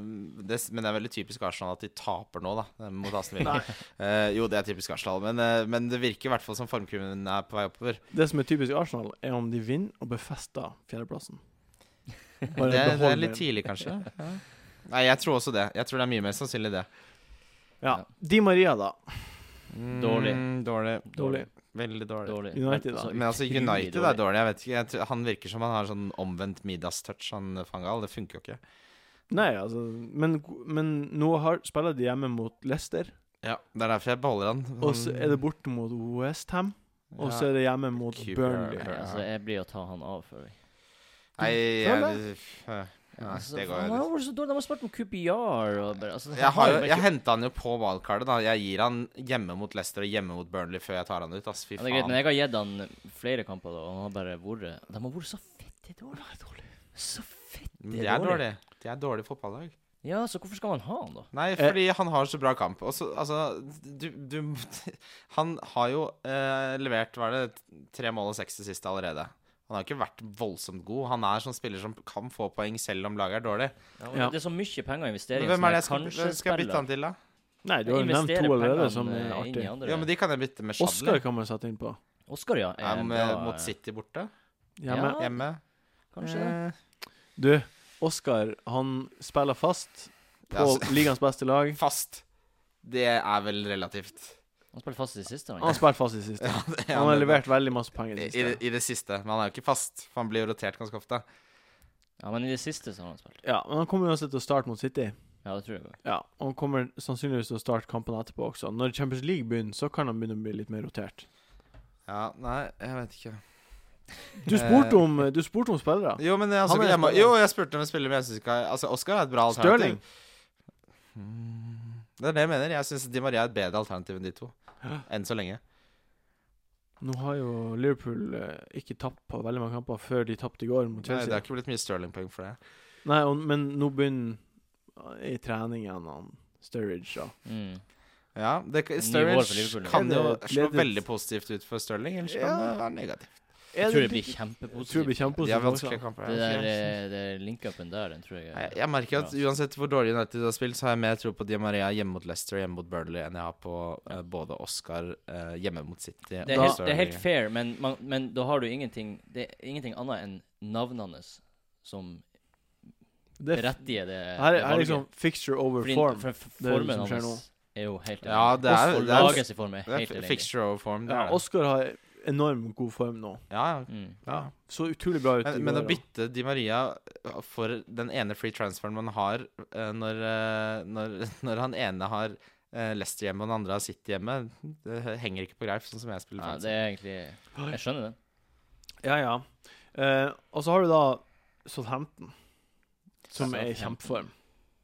[SPEAKER 2] det, Men det er veldig typisk Arsenal at de taper nå, da, mot Aston [LAUGHS] Villa. Eh, jo, det er typisk Arsenal, men, eh, men det virker i hvert fall som formkurven er på vei oppover.
[SPEAKER 1] Det som er typisk Arsenal, er om de vinner og befester fjerdeplassen.
[SPEAKER 2] Det,
[SPEAKER 1] Bare
[SPEAKER 2] det
[SPEAKER 1] beholder
[SPEAKER 2] er litt
[SPEAKER 1] den.
[SPEAKER 2] tidlig, kanskje. Ja. Nei, jeg tror også det. Jeg tror det er mye mer sannsynlig det.
[SPEAKER 1] Ja. Di Maria, da.
[SPEAKER 2] Mm,
[SPEAKER 3] Dårlig.
[SPEAKER 2] dårlig.
[SPEAKER 1] Dårlig.
[SPEAKER 2] Veldig dårlig.
[SPEAKER 3] Dårlig.
[SPEAKER 1] United, da.
[SPEAKER 3] Men-
[SPEAKER 2] Men altså,
[SPEAKER 3] utrolig
[SPEAKER 2] United er dårlig. Jeg vet ikke, jeg tror, Han virker som han har sånn omvendt middagstouch, han Fangal. Det funker jo ikke.
[SPEAKER 1] Nei, altså Men, men nå har, spiller de hjemme mot Leicester,
[SPEAKER 2] Ja, Det er derfor jeg beholder han.
[SPEAKER 1] og så
[SPEAKER 2] Mm.
[SPEAKER 1] er det borte mot Westham, og så er det hjemme mot
[SPEAKER 2] QPR.
[SPEAKER 1] Burnley.
[SPEAKER 3] Nei, altså, jeg blir å ta han av før jeg
[SPEAKER 2] Nei, jeg,
[SPEAKER 1] Føler
[SPEAKER 2] jeg, Ja,
[SPEAKER 3] Altså,
[SPEAKER 2] det
[SPEAKER 3] faen,
[SPEAKER 2] går
[SPEAKER 3] han
[SPEAKER 2] jo litt.
[SPEAKER 3] har vært så dårlig. De har spilt med QPR og bare altså,
[SPEAKER 2] Jeg, har jo-
[SPEAKER 3] bare
[SPEAKER 2] jeg
[SPEAKER 3] ikke-
[SPEAKER 2] henta han jo på wildcardet, da. Jeg gir han hjemme mot Leicester og hjemme mot Burnley før jeg tar han ut. Ass, fy
[SPEAKER 3] ja, det er greit, men
[SPEAKER 2] faen.
[SPEAKER 3] jeg har gitt han flere kamper, da, og han har bare vært De har vært så fette dårlige. Så fette
[SPEAKER 2] De er dårlige. De er dårlige fotballag.
[SPEAKER 3] Ja, så hvorfor skal man ha han, da?
[SPEAKER 2] Nei,
[SPEAKER 1] Eh.
[SPEAKER 2] fordi han har så bra kamp. Og så, altså du, du [LAUGHS] Han har jo eh, levert, var det, tre mål og seks til siste allerede. Han har ikke vært voldsomt god. Han er sånn spiller som kan få poeng selv om laget er dårlig.
[SPEAKER 3] Ja, men
[SPEAKER 1] Ja.
[SPEAKER 3] Det er så mye penger å investere
[SPEAKER 2] Men
[SPEAKER 3] i. sånn
[SPEAKER 2] hvem er det jeg skal,
[SPEAKER 3] kanskje
[SPEAKER 2] hvem skal jeg bytte
[SPEAKER 3] spiller.
[SPEAKER 2] han til, da?
[SPEAKER 1] Nei, du har jo
[SPEAKER 3] Jeg
[SPEAKER 1] nevnt
[SPEAKER 3] investerer
[SPEAKER 1] to allerede
[SPEAKER 3] pengene,
[SPEAKER 1] som er
[SPEAKER 3] eh, inn i
[SPEAKER 1] artig.
[SPEAKER 3] andre.
[SPEAKER 2] Ja, men de kan jeg bytte med
[SPEAKER 1] Oscar
[SPEAKER 2] Shadley.
[SPEAKER 1] kan man sette inn på.
[SPEAKER 3] Oscar, ja.
[SPEAKER 2] Ja,
[SPEAKER 3] er en
[SPEAKER 2] med,
[SPEAKER 3] bra, eh,
[SPEAKER 2] mot City borte.
[SPEAKER 1] Ja,
[SPEAKER 3] Ja.
[SPEAKER 1] men
[SPEAKER 2] Hjemme.
[SPEAKER 3] Kanskje det.
[SPEAKER 2] Eh,
[SPEAKER 1] du, Oscar, han spiller fast på
[SPEAKER 2] Ja, altså-
[SPEAKER 1] ligaens beste lag.
[SPEAKER 2] Fast. Det er vel relativt.
[SPEAKER 3] Han spilte fast i det siste.
[SPEAKER 1] Han har
[SPEAKER 3] Han.
[SPEAKER 1] spilt fast i det siste.
[SPEAKER 2] det- [LAUGHS]
[SPEAKER 1] Han har
[SPEAKER 2] det-
[SPEAKER 1] levert veldig masse poeng i
[SPEAKER 2] i,
[SPEAKER 1] det
[SPEAKER 2] i,
[SPEAKER 1] siste.
[SPEAKER 2] I det siste. Men han er jo ikke fast, for han blir jo rotert ganske ofte.
[SPEAKER 3] Ja, men i det siste så har han spilt.
[SPEAKER 1] Ja, men han kommer uansett til å starte mot City.
[SPEAKER 3] Ja, det tror jeg. også.
[SPEAKER 1] Ja, og Han kommer sannsynligvis til å starte kampene etterpå også. Når Champions League begynner, så kan han begynne å bli litt mer rotert.
[SPEAKER 2] Ja, nei, jeg vet ikke. Eh.
[SPEAKER 1] Du spurte om, du spurte om spillere.
[SPEAKER 2] Jo, men jeg, altså,
[SPEAKER 1] Han er
[SPEAKER 2] jeg må,
[SPEAKER 1] spiller.
[SPEAKER 2] jo, jeg spurte om en spiller, men jeg synes ikke Altså, Oscar er et bra alternativ.
[SPEAKER 1] Stirling.
[SPEAKER 2] Mm, Det er det jeg mener. Jeg syns Di Maria er et bedre alternativ enn de [GASPS] to. Enn så lenge.
[SPEAKER 1] Nå har jo Liverpool eh, ikke tapt på veldig mange kamper før de tapte i går mot
[SPEAKER 2] Nei, det
[SPEAKER 1] Chelsea.
[SPEAKER 2] har ikke blitt mye Stirling-poeng for det.
[SPEAKER 1] Nei, og, men nå begynner eh, i trening igjen han Sturridge, da.
[SPEAKER 3] Mm.
[SPEAKER 2] Ja, det,
[SPEAKER 3] Ny vår
[SPEAKER 2] Stirling
[SPEAKER 3] for Liverpool,
[SPEAKER 2] kan
[SPEAKER 1] ja.
[SPEAKER 2] jo
[SPEAKER 1] Er det
[SPEAKER 2] slå
[SPEAKER 1] gledet?
[SPEAKER 2] veldig positivt ut for Stirling, ellers kan
[SPEAKER 1] Ja.
[SPEAKER 2] det være negativt.
[SPEAKER 3] Jeg tror det blir
[SPEAKER 1] Jeg tror det blir
[SPEAKER 2] De har
[SPEAKER 3] kjempepositivt.
[SPEAKER 1] kjempepositivt. også.
[SPEAKER 2] vanskelige kamper.
[SPEAKER 3] Det der,
[SPEAKER 2] Nei,
[SPEAKER 3] eh, det der link-upen der, den tror jeg
[SPEAKER 2] Jeg, jeg merker at
[SPEAKER 3] bra.
[SPEAKER 2] uansett hvor dårlig United har spilt, så har jeg mer tro på Di Maria hjemme mot Leicester og hjemme mot Burnley enn jeg har på eh, både Oscar eh, hjemme mot City
[SPEAKER 3] det er,
[SPEAKER 1] Da-
[SPEAKER 3] helt, det er helt fair, men, man, men da har du ingenting Det er ingenting annet enn navnene hans som
[SPEAKER 1] Det er f-
[SPEAKER 3] berettiger det.
[SPEAKER 1] her, er-
[SPEAKER 3] det
[SPEAKER 1] her
[SPEAKER 3] valget.
[SPEAKER 1] er liksom fixture over
[SPEAKER 3] Fordi
[SPEAKER 1] form.
[SPEAKER 3] For, for,
[SPEAKER 1] Det er det
[SPEAKER 3] formen
[SPEAKER 1] som skjer
[SPEAKER 3] hans er jo helt
[SPEAKER 2] Ja,
[SPEAKER 3] elendig.
[SPEAKER 2] det er-
[SPEAKER 3] Og
[SPEAKER 2] det er-
[SPEAKER 3] laget sin form er
[SPEAKER 2] Det er
[SPEAKER 3] helt
[SPEAKER 2] fi-
[SPEAKER 3] elendig.
[SPEAKER 2] fixture over form. Det
[SPEAKER 1] Ja,
[SPEAKER 2] er det.
[SPEAKER 1] Oscar har enormt god form nå.
[SPEAKER 2] Ja, ja.
[SPEAKER 3] Mm.
[SPEAKER 2] ja.
[SPEAKER 1] Så utrolig bra ut. i
[SPEAKER 2] Men, men å
[SPEAKER 1] går, da.
[SPEAKER 2] bytte Di Maria eh, for den ene free transferen man har eh, når, eh, når, [LAUGHS] når han ene har eh, Leicester hjemme og den andre har City hjemme, det henger ikke på greip, sånn som jeg spiller
[SPEAKER 3] Ja,
[SPEAKER 2] fantasy.
[SPEAKER 3] det er egentlig Jeg skjønner den.
[SPEAKER 1] Ja, ja. Eh, og så har du da Southampton, som er i
[SPEAKER 3] Southampton.
[SPEAKER 1] kjempeform.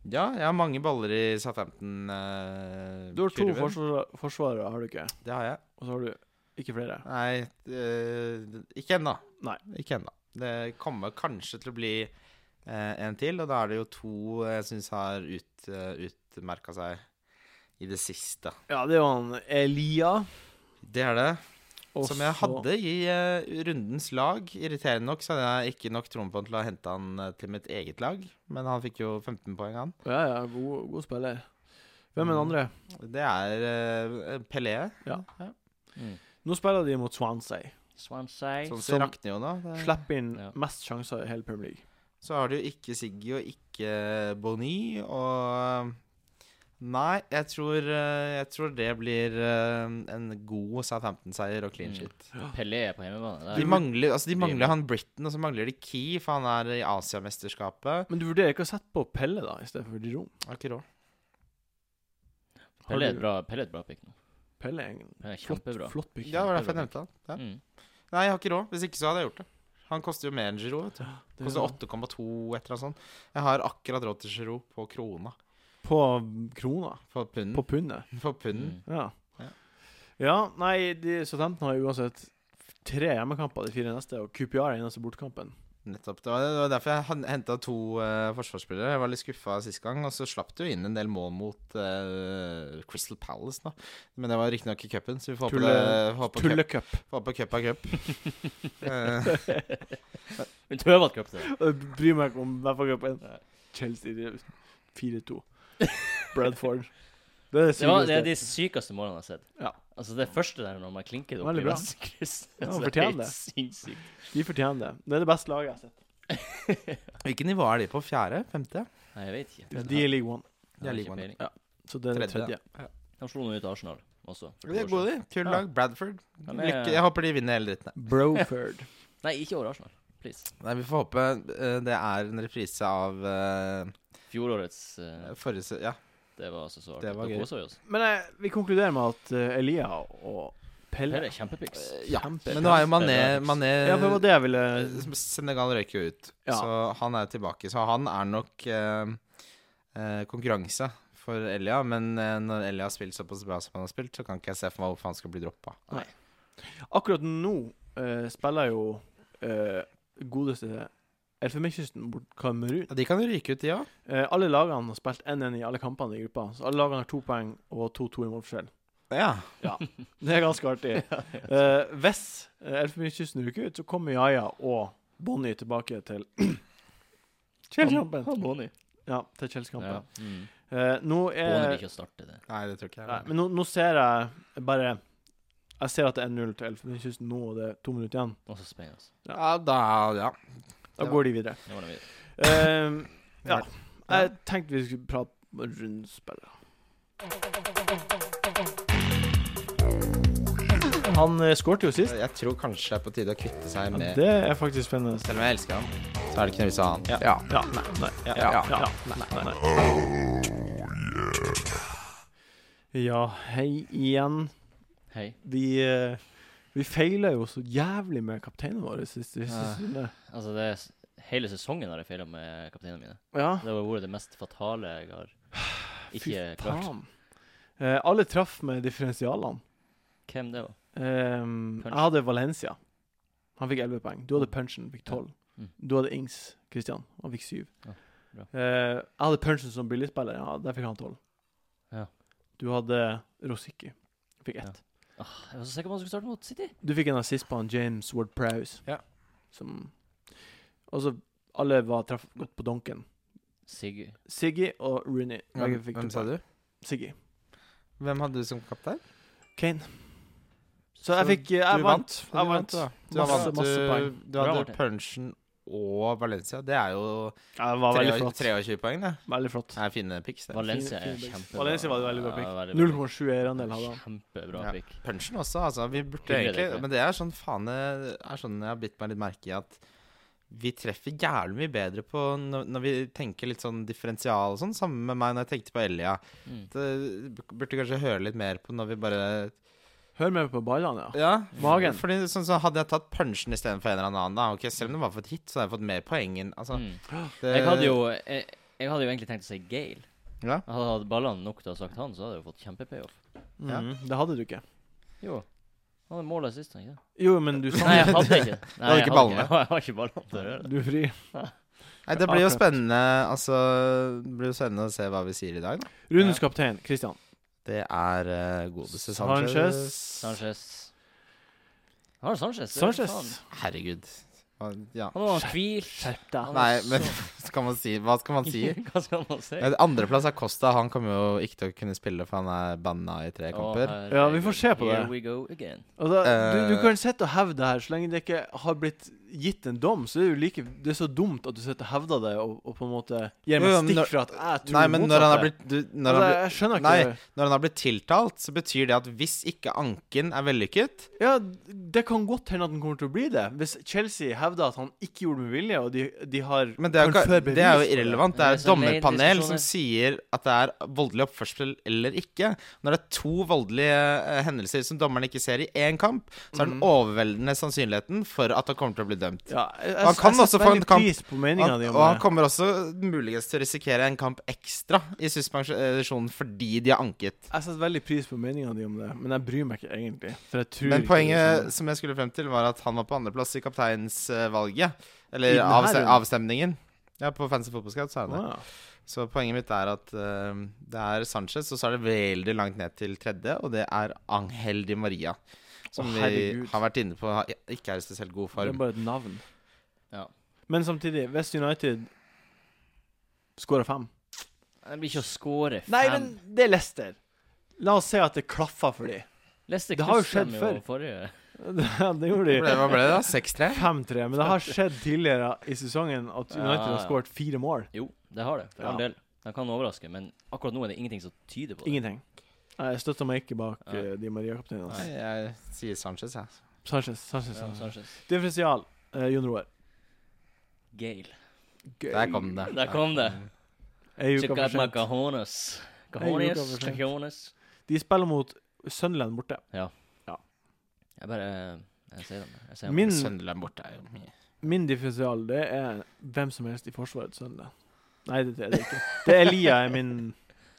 [SPEAKER 2] Ja, jeg har mange baller i Southampton. Uh,
[SPEAKER 1] Du har to forsvar forsvarere, har du ikke?
[SPEAKER 2] Det har jeg.
[SPEAKER 1] Og så har du ikke flere.
[SPEAKER 2] Nei, eh, ikke ennå.
[SPEAKER 1] Nei.
[SPEAKER 2] Ikke ennå. Det kommer kanskje til å bli eh, en til, og da er det jo to eh, jeg syns har ut, eh, utmerka seg i det siste.
[SPEAKER 1] Ja, det er jo han Elia.
[SPEAKER 2] Det er det.
[SPEAKER 1] og
[SPEAKER 2] Som jeg
[SPEAKER 1] så-
[SPEAKER 2] hadde i eh, rundens lag. Irriterende nok så hadde jeg ikke nok troen på han til å hente han eh, til mitt eget lag. Men han fikk jo 15 poeng, han.
[SPEAKER 1] Ja, ja, god, god spiller. Hvem er den
[SPEAKER 2] Mm.
[SPEAKER 1] andre?
[SPEAKER 2] Det er eh, Pelé.
[SPEAKER 1] Ja.
[SPEAKER 3] Mm.
[SPEAKER 1] Nå spiller de mot Swansea.
[SPEAKER 3] Swansea
[SPEAKER 2] Sånn
[SPEAKER 1] Som-
[SPEAKER 2] som rakner jo nå. Det-
[SPEAKER 1] Slipper inn
[SPEAKER 3] Ja.
[SPEAKER 1] mest sjanser i hele Premier League.
[SPEAKER 2] Så har du jo ikke Siggy og ikke Bonny og Nei, jeg tror, eh, jeg tror det blir eh, en god Southampton-seier og clean
[SPEAKER 3] Mm.
[SPEAKER 2] shit.
[SPEAKER 3] Pelé er på hjemmebane. Det er-
[SPEAKER 2] De mangler, altså de
[SPEAKER 3] Blir
[SPEAKER 2] mangler
[SPEAKER 3] med.
[SPEAKER 2] han Britain, og så mangler de Key, for han er i Asiamesterskapet.
[SPEAKER 1] Men du vurderer ikke å sette på Pelle, da, i stedet for Dijon?
[SPEAKER 2] Har ikke råd.
[SPEAKER 3] Pelé er et bra, Pelé er et bra pick nå.
[SPEAKER 1] Pelle er en
[SPEAKER 3] Pelé er
[SPEAKER 1] flott,
[SPEAKER 3] kjempebra.
[SPEAKER 1] flott pick.
[SPEAKER 2] Ja, det var derfor jeg nevnte han. Ja.
[SPEAKER 3] Mm.
[SPEAKER 2] Nei, jeg har ikke råd. Hvis ikke så hadde jeg gjort det. Han koster jo mer enn Giroud. vet du.
[SPEAKER 1] Det er
[SPEAKER 2] Koster
[SPEAKER 1] jo-
[SPEAKER 2] 8,2 et eller annet sånt. Jeg har akkurat råd til Giroud på krona.
[SPEAKER 1] På krona.
[SPEAKER 2] På punden.
[SPEAKER 1] På pundet.
[SPEAKER 2] På punden.
[SPEAKER 3] Mm.
[SPEAKER 1] Ja.
[SPEAKER 2] Ja.
[SPEAKER 1] Ja, nei, de, Southampton har uansett tre hjemmekamper de fire neste, og QPR er eneste bortekampen.
[SPEAKER 2] Nettopp. Det var, det var derfor jeg henta to eh, forsvarsspillere. Jeg var litt skuffa sist gang, og så slapp du inn en del mål mot eh, Crystal Palace, da. Men det var riktignok i cupen, så vi får håpe
[SPEAKER 1] Tulle-
[SPEAKER 2] det- får håpe cup-
[SPEAKER 1] Tullecup.
[SPEAKER 3] [LAUGHS]
[SPEAKER 2] får håpe cup er cup. [LAUGHS] Eh,
[SPEAKER 3] Men Tøvald Cup, det.
[SPEAKER 1] Jeg bryr meg ikke om hver cup. Chelsea de er
[SPEAKER 3] [LAUGHS]
[SPEAKER 1] 4-2. Bradford. Det er det
[SPEAKER 3] Det, var, det er
[SPEAKER 1] sykeste.
[SPEAKER 3] de sykeste målene jeg har sett.
[SPEAKER 1] Ja.
[SPEAKER 3] Altså Det første der når man klinker det opp
[SPEAKER 1] Veldig
[SPEAKER 3] i
[SPEAKER 1] bra.
[SPEAKER 3] venstre kryss [LAUGHS]
[SPEAKER 1] Ja,
[SPEAKER 3] altså,
[SPEAKER 1] han fortjener
[SPEAKER 3] helt
[SPEAKER 1] det.
[SPEAKER 3] Sinnssykt.
[SPEAKER 1] De fortjener det. Det er det beste laget jeg har sett.
[SPEAKER 2] Hvilket nivå er de på? Fjerde? Femte?
[SPEAKER 3] Nei, jeg vet ikke.
[SPEAKER 1] De er league one,
[SPEAKER 2] Jeg
[SPEAKER 3] har
[SPEAKER 2] liker
[SPEAKER 3] ikke
[SPEAKER 2] meg.
[SPEAKER 3] peiling.
[SPEAKER 1] så det er det
[SPEAKER 2] Tredje.
[SPEAKER 1] tredje.
[SPEAKER 3] De slo nå ut Arsenal også. for to
[SPEAKER 2] De
[SPEAKER 3] år
[SPEAKER 2] er gode, de. Kul
[SPEAKER 3] Ja.
[SPEAKER 2] lag. Bradford.
[SPEAKER 3] Ja, men jeg-
[SPEAKER 2] Lykke. Jeg håper de vinner hele dritten. her.
[SPEAKER 1] [LAUGHS] Broford.
[SPEAKER 3] siden. Nei, ikke over Arsenal. Please.
[SPEAKER 2] Nei, Vi får håpe eh, det er en reprise av eh,
[SPEAKER 3] Fjorårets eh,
[SPEAKER 2] forrige se- Ja,
[SPEAKER 3] Det var altså så artig.
[SPEAKER 2] Det var
[SPEAKER 3] Da
[SPEAKER 2] gøy.
[SPEAKER 3] kosa vi oss.
[SPEAKER 1] Men eh, vi konkluderer med at eh, Elia og Pelle.
[SPEAKER 3] Pelle er kjempepiks.
[SPEAKER 2] Ja,
[SPEAKER 1] Kjempe-
[SPEAKER 2] men nå er jo Mané,
[SPEAKER 3] Kjempe-
[SPEAKER 2] Mané
[SPEAKER 1] Ja, for det var det jeg ville
[SPEAKER 2] Eh, Senegal røyk jo ut,
[SPEAKER 1] Ja.
[SPEAKER 2] så han er tilbake. Så han er nok eh, eh, konkurranse for Elia, men eh, når Elia har spilt såpass bra som han har spilt, så kan ikke jeg se for meg hvorfor han skal bli droppa.
[SPEAKER 1] Nei. Akkurat nå eh, spiller jo eh, godeste Elfenbenskysten mot Kamerun.
[SPEAKER 2] Ja, de kan jo ryke ut, de òg.
[SPEAKER 1] Eh, alle lagene har spilt 1-1 i alle kampene i gruppa, så alle lagene har to poeng og 2-2 i målforskjell. [LAUGHS]
[SPEAKER 2] Ja.
[SPEAKER 1] Det er ganske [LAUGHS] artig. Eh, hvis eh, Elfenbenskysten ryker ut, så kommer Yaya og Bonnie tilbake til [CLEARS THROAT] Chelsea-kampen.
[SPEAKER 3] Bonnie.
[SPEAKER 1] Ja, til Chelsea-kampen.
[SPEAKER 3] Ja. Mm.
[SPEAKER 1] Eh, nå
[SPEAKER 3] Bonnie
[SPEAKER 1] er
[SPEAKER 3] vil ikke starte det.
[SPEAKER 2] Nei, det tror ikke jeg.
[SPEAKER 1] Nei, men nå, nå ser jeg bare Jeg ser at det er 0 til Elfenbenskysten nå, og det er to minutter igjen.
[SPEAKER 3] Også Spain, altså.
[SPEAKER 2] ja, da Ja.
[SPEAKER 1] Da
[SPEAKER 2] Ja.
[SPEAKER 1] går de videre.
[SPEAKER 3] Det var det vi
[SPEAKER 1] Eh, ja.
[SPEAKER 2] Ja.
[SPEAKER 1] Jeg tenkte vi skulle prate rundspillere. Han eh, skårte jo sist.
[SPEAKER 2] Jeg tror kanskje det er på tide å kvitte seg
[SPEAKER 1] Ja,
[SPEAKER 2] med
[SPEAKER 1] det er faktisk spennende.
[SPEAKER 2] Selv om jeg elsker han, så er det ikke noe vits i å ha han. Ja.
[SPEAKER 1] Ja, nei, nei, ja,
[SPEAKER 2] Ja,
[SPEAKER 1] ja,
[SPEAKER 2] ja,
[SPEAKER 1] nei, nei. Ja, hei igjen.
[SPEAKER 3] Hei.
[SPEAKER 1] Vi, eh, vi feila jo så jævlig med kapteinen vår sist. sist
[SPEAKER 2] Ja.
[SPEAKER 1] runde.
[SPEAKER 3] Altså, det er, s- hele sesongen har jeg feila med kapteinene mine.
[SPEAKER 1] Ja.
[SPEAKER 3] Det har vært det mest fatale jeg har ikke
[SPEAKER 1] Fy
[SPEAKER 3] klart.
[SPEAKER 1] faen. Eh, alle traff med differensialene.
[SPEAKER 3] Hvem det var?
[SPEAKER 1] Ehm, jeg
[SPEAKER 3] Punch.
[SPEAKER 1] hadde Valencia. Han fikk 11 poeng. Du hadde Punchen, fikk 12.
[SPEAKER 3] Ja. Mm.
[SPEAKER 1] Du hadde Ings, Christian. Han fikk 7.
[SPEAKER 3] Ja, bra.
[SPEAKER 1] Eh, jeg hadde Punchen som billigspiller. Ja, der fikk han 12.
[SPEAKER 3] Ja.
[SPEAKER 1] Du hadde Rosicki. Fikk 1.
[SPEAKER 3] Ja. Åh, jeg var så sikker på at han skulle starte mot City.
[SPEAKER 1] Du fikk en assist på han James Ward Prowse.
[SPEAKER 2] Ja.
[SPEAKER 1] Som Altså, alle var traff godt på donken.
[SPEAKER 3] Sigurd.
[SPEAKER 1] Siggy og Rooney. Begge
[SPEAKER 2] Hvem,
[SPEAKER 1] fikk
[SPEAKER 2] hvem
[SPEAKER 1] to
[SPEAKER 2] sa
[SPEAKER 1] poeng.
[SPEAKER 2] du?
[SPEAKER 1] Siggy.
[SPEAKER 2] Hvem hadde du som kaptein?
[SPEAKER 1] Kane. Så jeg
[SPEAKER 2] Så
[SPEAKER 1] fikk eh, Jeg
[SPEAKER 2] du
[SPEAKER 1] vant.
[SPEAKER 2] vant.
[SPEAKER 1] Jeg vant.
[SPEAKER 2] da. Du,
[SPEAKER 1] Masse,
[SPEAKER 2] vant.
[SPEAKER 1] masse poeng.
[SPEAKER 2] du, du
[SPEAKER 3] Bra,
[SPEAKER 2] hadde
[SPEAKER 3] Martin.
[SPEAKER 2] Punchen og Valencia. Det er jo
[SPEAKER 1] Ja, det var veldig
[SPEAKER 2] 23
[SPEAKER 1] flott.
[SPEAKER 2] 23 poeng, det.
[SPEAKER 1] Veldig flott.
[SPEAKER 2] Det er fine pics, det.
[SPEAKER 3] Valencia
[SPEAKER 1] fin
[SPEAKER 3] er
[SPEAKER 1] pick.
[SPEAKER 3] kjempebra.
[SPEAKER 1] Valencia var et veldig bra pick.
[SPEAKER 3] Ja, veldig bra
[SPEAKER 1] 0,7 eierandel hadde han.
[SPEAKER 3] Kjempebra
[SPEAKER 2] Ja.
[SPEAKER 3] pick.
[SPEAKER 2] Punchen også, altså. Vi burde
[SPEAKER 3] Hyggelig, det er
[SPEAKER 2] egentlig
[SPEAKER 3] ikke.
[SPEAKER 2] Men det er sånn faen Det er sånn jeg har bitt meg litt merke i at vi treffer jævlig mye bedre på når, når vi tenker litt sånn differensial og sånn, sammen med meg når jeg tenkte på Elia.
[SPEAKER 3] Mm.
[SPEAKER 2] Det burde kanskje høre litt mer på når vi bare
[SPEAKER 1] Hør med på ballene, ja.
[SPEAKER 2] Ja.
[SPEAKER 1] Magen.
[SPEAKER 2] Fordi sånn så Hadde jeg tatt punchen istedenfor en eller annen, da, ok, selv om det var for et hit, så hadde jeg fått mer poeng enn altså,
[SPEAKER 3] Mm.
[SPEAKER 2] det-
[SPEAKER 3] Jeg hadde jo jeg, jeg hadde jo egentlig tenkt å si Gale.
[SPEAKER 2] Ja.
[SPEAKER 3] Jeg hadde hatt ballene nok til å ha sagt han, så hadde jeg jo fått kjempe-payoff.
[SPEAKER 2] Ja.
[SPEAKER 1] Mhm, Det hadde du ikke.
[SPEAKER 3] Jo. Han hadde måla sist, han ikke det?
[SPEAKER 1] Jo, men [LAUGHS] du sa
[SPEAKER 3] Nei, jeg hadde ikke. Nei,
[SPEAKER 2] hadde
[SPEAKER 3] jeg
[SPEAKER 2] ikke
[SPEAKER 3] hadde
[SPEAKER 2] ballene.
[SPEAKER 3] Jeg har ikke [LAUGHS] ballene til å gjøre det.
[SPEAKER 1] Du er fri.
[SPEAKER 2] Nei, det blir jo
[SPEAKER 1] Akkurat.
[SPEAKER 2] spennende Altså, det blir jo spennende å se hva vi sier i dag, da.
[SPEAKER 1] Rundens kaptein, Christian.
[SPEAKER 2] Det er eh, godeste Sanchez.
[SPEAKER 1] Sanchez.
[SPEAKER 3] Sanchez. Jeg har Sanchez. det er faen.
[SPEAKER 1] Sanchez.
[SPEAKER 2] Herregud. Hva- Ja.
[SPEAKER 3] Han var hvilt.
[SPEAKER 1] Skjerp deg.
[SPEAKER 2] Nei, men skal man si, hva skal man
[SPEAKER 3] [LAUGHS]
[SPEAKER 2] si?
[SPEAKER 3] Hva skal man si?
[SPEAKER 2] Eh, Andreplass er Costa. Han kommer jo ikke til å kunne spille, for han er banna i tre kamper.
[SPEAKER 3] Å,
[SPEAKER 1] Ja, vi får se på
[SPEAKER 3] herregud.
[SPEAKER 1] det.
[SPEAKER 3] Here we go again.
[SPEAKER 1] Altså, du, du
[SPEAKER 2] Eh.
[SPEAKER 1] kan sitte og hevde det her så lenge det ikke har blitt gitt en dom. Så det er jo like Det er så dumt at du sitter og hevder det og, og på en måte gir
[SPEAKER 2] Jo,
[SPEAKER 1] meg
[SPEAKER 2] jo, men når-
[SPEAKER 1] stikk for at jeg tror
[SPEAKER 2] Nei, men når han er
[SPEAKER 1] motsatte.
[SPEAKER 2] blitt, du, når
[SPEAKER 1] altså,
[SPEAKER 2] han blir,
[SPEAKER 1] Jeg skjønner ikke
[SPEAKER 2] Nei.
[SPEAKER 1] det.
[SPEAKER 2] når han er blitt tiltalt, så betyr det at hvis ikke anken er vellykket
[SPEAKER 1] Ja, det kan godt hende at den kommer til å bli det. Hvis Chelsea hevder at han ikke gjorde det med vilje, og de, de har
[SPEAKER 2] Men det er, jo
[SPEAKER 1] kan
[SPEAKER 2] ikke,
[SPEAKER 1] føre
[SPEAKER 2] det er jo
[SPEAKER 1] bevis for det.
[SPEAKER 2] irrelevant. Det er
[SPEAKER 3] Men det
[SPEAKER 2] et
[SPEAKER 3] er så mer
[SPEAKER 2] dommerpanel som
[SPEAKER 3] diskusjoner.
[SPEAKER 2] sier at det er voldelig oppførsel eller ikke. Når det er to voldelige eh, hendelser som dommeren ikke ser i én kamp, så er den
[SPEAKER 1] Mhm.
[SPEAKER 2] overveldende sannsynligheten for at han kommer til å bli dømt.
[SPEAKER 1] Ja, jeg,
[SPEAKER 2] Han kan
[SPEAKER 1] setter
[SPEAKER 2] også få en
[SPEAKER 1] veldig
[SPEAKER 2] kamp.
[SPEAKER 1] pris på
[SPEAKER 2] Han,
[SPEAKER 1] meninga di
[SPEAKER 2] og
[SPEAKER 1] om
[SPEAKER 2] han
[SPEAKER 1] det.
[SPEAKER 2] kommer også muligens til å risikere en kamp ekstra i suspensjonen fordi de har anket.
[SPEAKER 1] Jeg setter veldig pris på meninga di om det, men jeg bryr meg ikke egentlig. For jeg tror
[SPEAKER 2] Men
[SPEAKER 1] ikke
[SPEAKER 2] poenget
[SPEAKER 1] det er sånn.
[SPEAKER 2] som jeg skulle frem til, var at han var på andreplass i kapteinsvalget.
[SPEAKER 1] I
[SPEAKER 2] Eller
[SPEAKER 1] den her
[SPEAKER 2] avste
[SPEAKER 1] runden?
[SPEAKER 2] avstemningen. Ja, på Fancy Football Scout sa han det.
[SPEAKER 1] Å, ja.
[SPEAKER 2] Så poenget mitt er at eh, det er Sanchez, og så er det veldig langt ned til tredje, og det er Angel Di Maria. Som
[SPEAKER 1] Å,
[SPEAKER 2] vi
[SPEAKER 1] herregud.
[SPEAKER 2] har vært inne på har- ikke er i spesielt god
[SPEAKER 1] Det er
[SPEAKER 2] form.
[SPEAKER 1] bare et navn.
[SPEAKER 3] Ja.
[SPEAKER 1] Men samtidig, West United skårer fem.
[SPEAKER 3] Det blir ikke å score fem.
[SPEAKER 1] Nei, men det er Leicester. La oss se at det klaffer for dem.
[SPEAKER 3] Leicester
[SPEAKER 1] det har jo
[SPEAKER 3] knuste dem
[SPEAKER 1] skjedd før.
[SPEAKER 3] Forrige.
[SPEAKER 1] [LAUGHS] det gjorde
[SPEAKER 2] Hva
[SPEAKER 1] de.
[SPEAKER 2] ble, hva ble det, da? 6-3?
[SPEAKER 1] 5-3. Men det har skjedd tidligere i sesongen at
[SPEAKER 3] Ja,
[SPEAKER 1] United har
[SPEAKER 3] ja.
[SPEAKER 1] skåret fire mål.
[SPEAKER 3] Jo, det har det. For
[SPEAKER 1] Ja.
[SPEAKER 3] all del. De kan overraske, men akkurat nå er det ingenting som tyder på det.
[SPEAKER 1] Ingenting. Nei, Jeg støtter meg ikke bak
[SPEAKER 3] Nei.
[SPEAKER 1] eh, de Maria-kapteinene.
[SPEAKER 2] Nei, jeg sier Sanchez, jeg.
[SPEAKER 1] Sanchez, Sanchez,
[SPEAKER 3] Ja,
[SPEAKER 1] Sanchez.
[SPEAKER 3] Sanchez.
[SPEAKER 1] Differensial. eh, Jon Roar.
[SPEAKER 3] Gale.
[SPEAKER 2] Der kom det.
[SPEAKER 3] Der kom det.
[SPEAKER 1] Ei uke
[SPEAKER 3] Check
[SPEAKER 1] for
[SPEAKER 3] out my
[SPEAKER 1] sent.
[SPEAKER 3] cajones.
[SPEAKER 1] Nei, uka
[SPEAKER 3] Cajones.
[SPEAKER 1] for sent.
[SPEAKER 3] Cajones.
[SPEAKER 1] De spiller mot Sunderland borte.
[SPEAKER 3] Ja.
[SPEAKER 1] Ja.
[SPEAKER 3] Jeg bare Jeg sier dem. Jeg sier dem.
[SPEAKER 1] Min,
[SPEAKER 2] Sunderland borte er jo mye.
[SPEAKER 1] min differensial, det er hvem som helst i Forsvarets søndag. Nei, det, det er det ikke. Det er Elia er min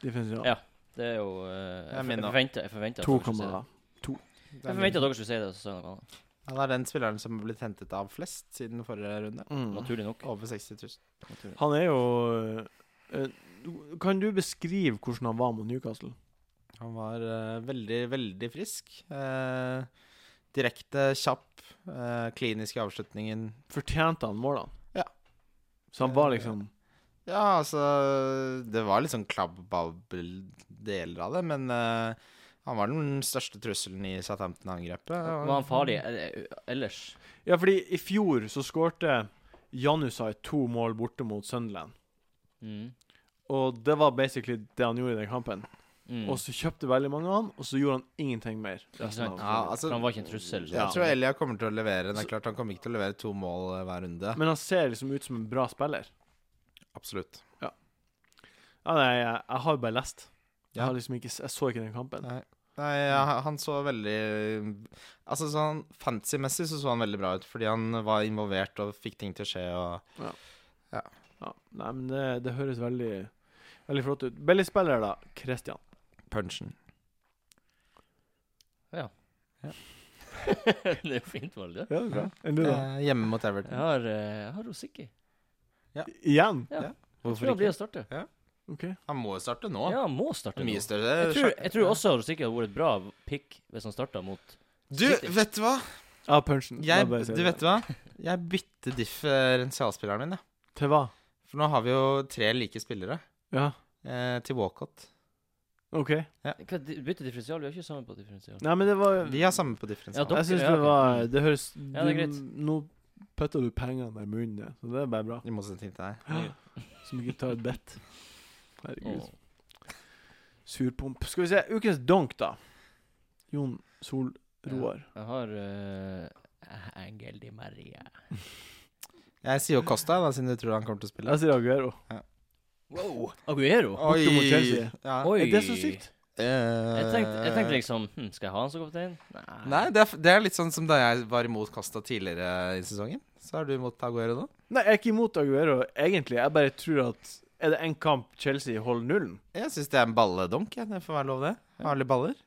[SPEAKER 1] differensial.
[SPEAKER 3] Ja, Det er jo eh,
[SPEAKER 2] Jeg
[SPEAKER 3] Jeg,
[SPEAKER 2] minner.
[SPEAKER 3] forventa- jeg forventa at,
[SPEAKER 1] to
[SPEAKER 3] dere skulle si det.
[SPEAKER 1] kamera.
[SPEAKER 2] Det
[SPEAKER 3] Jeg
[SPEAKER 2] er
[SPEAKER 3] forventet
[SPEAKER 2] mye.
[SPEAKER 3] at dere skulle si det. Så sa jeg noe annet.
[SPEAKER 2] Han er den spilleren som har blitt hentet av flest siden forrige runde.
[SPEAKER 1] Mm.
[SPEAKER 3] Naturlig nok.
[SPEAKER 2] Over 60 000.
[SPEAKER 3] Naturlig.
[SPEAKER 1] Han er jo eh, du- Kan du beskrive hvordan han var mot Newcastle?
[SPEAKER 2] Han var eh, veldig, veldig frisk. Eh, direkte, kjapp, eh, klinisk i avslutningen.
[SPEAKER 1] Fortjente han målene?
[SPEAKER 2] Ja.
[SPEAKER 1] Så han var liksom
[SPEAKER 2] Ja, altså Det var litt sånn klabb-babb-deler av det, men eh, han var den største trusselen i Southampton-angrepet.
[SPEAKER 3] Var han farlig eh, ellers?
[SPEAKER 1] Ja, fordi i fjor så skårte Janusai to mål borte mot Sunderland.
[SPEAKER 3] Mm.
[SPEAKER 1] Og det var basically det han gjorde i den kampen.
[SPEAKER 3] Mm.
[SPEAKER 1] Og så kjøpte veldig mange av han, og så gjorde han ingenting mer. resten
[SPEAKER 3] sant?
[SPEAKER 1] av
[SPEAKER 2] Ja, altså,
[SPEAKER 3] For han var ikke en trussel.
[SPEAKER 1] Ja.
[SPEAKER 2] Jeg tror Elia kommer til å levere. Det er klart Han kommer ikke til å levere to mål eh, hver runde.
[SPEAKER 1] Men han ser liksom ut som en bra spiller.
[SPEAKER 2] Absolutt.
[SPEAKER 1] Ja, nei, jeg, jeg har bare lest. Jeg,
[SPEAKER 2] Ja.
[SPEAKER 1] har liksom ikke, s- jeg så ikke den kampen.
[SPEAKER 2] Nei, Nei ja,
[SPEAKER 1] Mm.
[SPEAKER 2] han så veldig Altså sånn fancy-messig så så han veldig bra ut, fordi han var involvert og fikk ting til å skje og
[SPEAKER 1] Ja, nei, men det, det høres veldig Veldig flott ut. Billigspiller, da. Christian.
[SPEAKER 2] punchen.
[SPEAKER 3] [LAUGHS] det er jo fint valg, det.
[SPEAKER 1] Ja, det er bra. Enn du, da?
[SPEAKER 2] Eh, hjemme mot
[SPEAKER 3] Jeg
[SPEAKER 2] Everton.
[SPEAKER 3] har, eh, jeg har Rosicky.
[SPEAKER 1] Igjen?
[SPEAKER 3] Jeg tror han blir å starte.
[SPEAKER 2] Han må jo starte nå.
[SPEAKER 3] Ja, han må starte nå.
[SPEAKER 2] Mye
[SPEAKER 3] Jeg
[SPEAKER 2] større.
[SPEAKER 1] eh,
[SPEAKER 3] tror, jeg tror også Rosicky hadde vært et bra pick hvis han starta mot
[SPEAKER 2] Du, vet du hva?
[SPEAKER 1] Ja, punchen.
[SPEAKER 2] Jeg,
[SPEAKER 1] Da bare sier
[SPEAKER 2] du
[SPEAKER 1] jeg
[SPEAKER 2] vet hva? Jeg bytter differensialspilleren min, jeg.
[SPEAKER 1] det. Til hva?
[SPEAKER 2] For nå har vi jo tre like spillere
[SPEAKER 1] Ja,
[SPEAKER 2] eh, til Walcott.
[SPEAKER 1] OK.
[SPEAKER 3] Hva, di- Bytte differensial? Vi er ikke sammen på differensial.
[SPEAKER 1] Nei, men det var
[SPEAKER 2] Vi har samme på
[SPEAKER 3] Ja,
[SPEAKER 2] differensial.
[SPEAKER 3] dere,
[SPEAKER 1] Jeg syns
[SPEAKER 3] ja,
[SPEAKER 1] det
[SPEAKER 3] ok.
[SPEAKER 1] var Det høres
[SPEAKER 3] Ja, det er
[SPEAKER 1] du,
[SPEAKER 3] greit.
[SPEAKER 1] Nå putter du pengene i munnen, ja. så det er bare bra.
[SPEAKER 2] I motsetning til deg.
[SPEAKER 1] [GASPS] Som ikke tar et bett. Herregud.
[SPEAKER 3] Åh.
[SPEAKER 1] Surpomp. Skal vi se. Ukens donk, da. Jon Sol
[SPEAKER 3] Ja.
[SPEAKER 1] Roar.
[SPEAKER 3] Jeg har eh, Angel Di Maria.
[SPEAKER 2] Jeg sier jo Costa, da, siden du tror han kommer til å spille.
[SPEAKER 1] Jeg sier Aguero.
[SPEAKER 3] Wow! Aguero?
[SPEAKER 1] Altså, borte mot Chelsea.
[SPEAKER 2] Ja.
[SPEAKER 3] Oi.
[SPEAKER 1] Er det så sykt? Eh.
[SPEAKER 3] Jeg tenkte, jeg tenkte liksom hm, Skal jeg ha han som kaptein?
[SPEAKER 2] Nei, det er, det er litt sånn som da jeg var imot Costa tidligere i sesongen. Så er du imot Aguero nå?
[SPEAKER 1] Nei, jeg er ikke imot Aguero, egentlig. Jeg bare tror at Er det én kamp Chelsea holder nullen?
[SPEAKER 2] Jeg syns det er en balledonk. jeg. Det får være lov, det. Harde baller.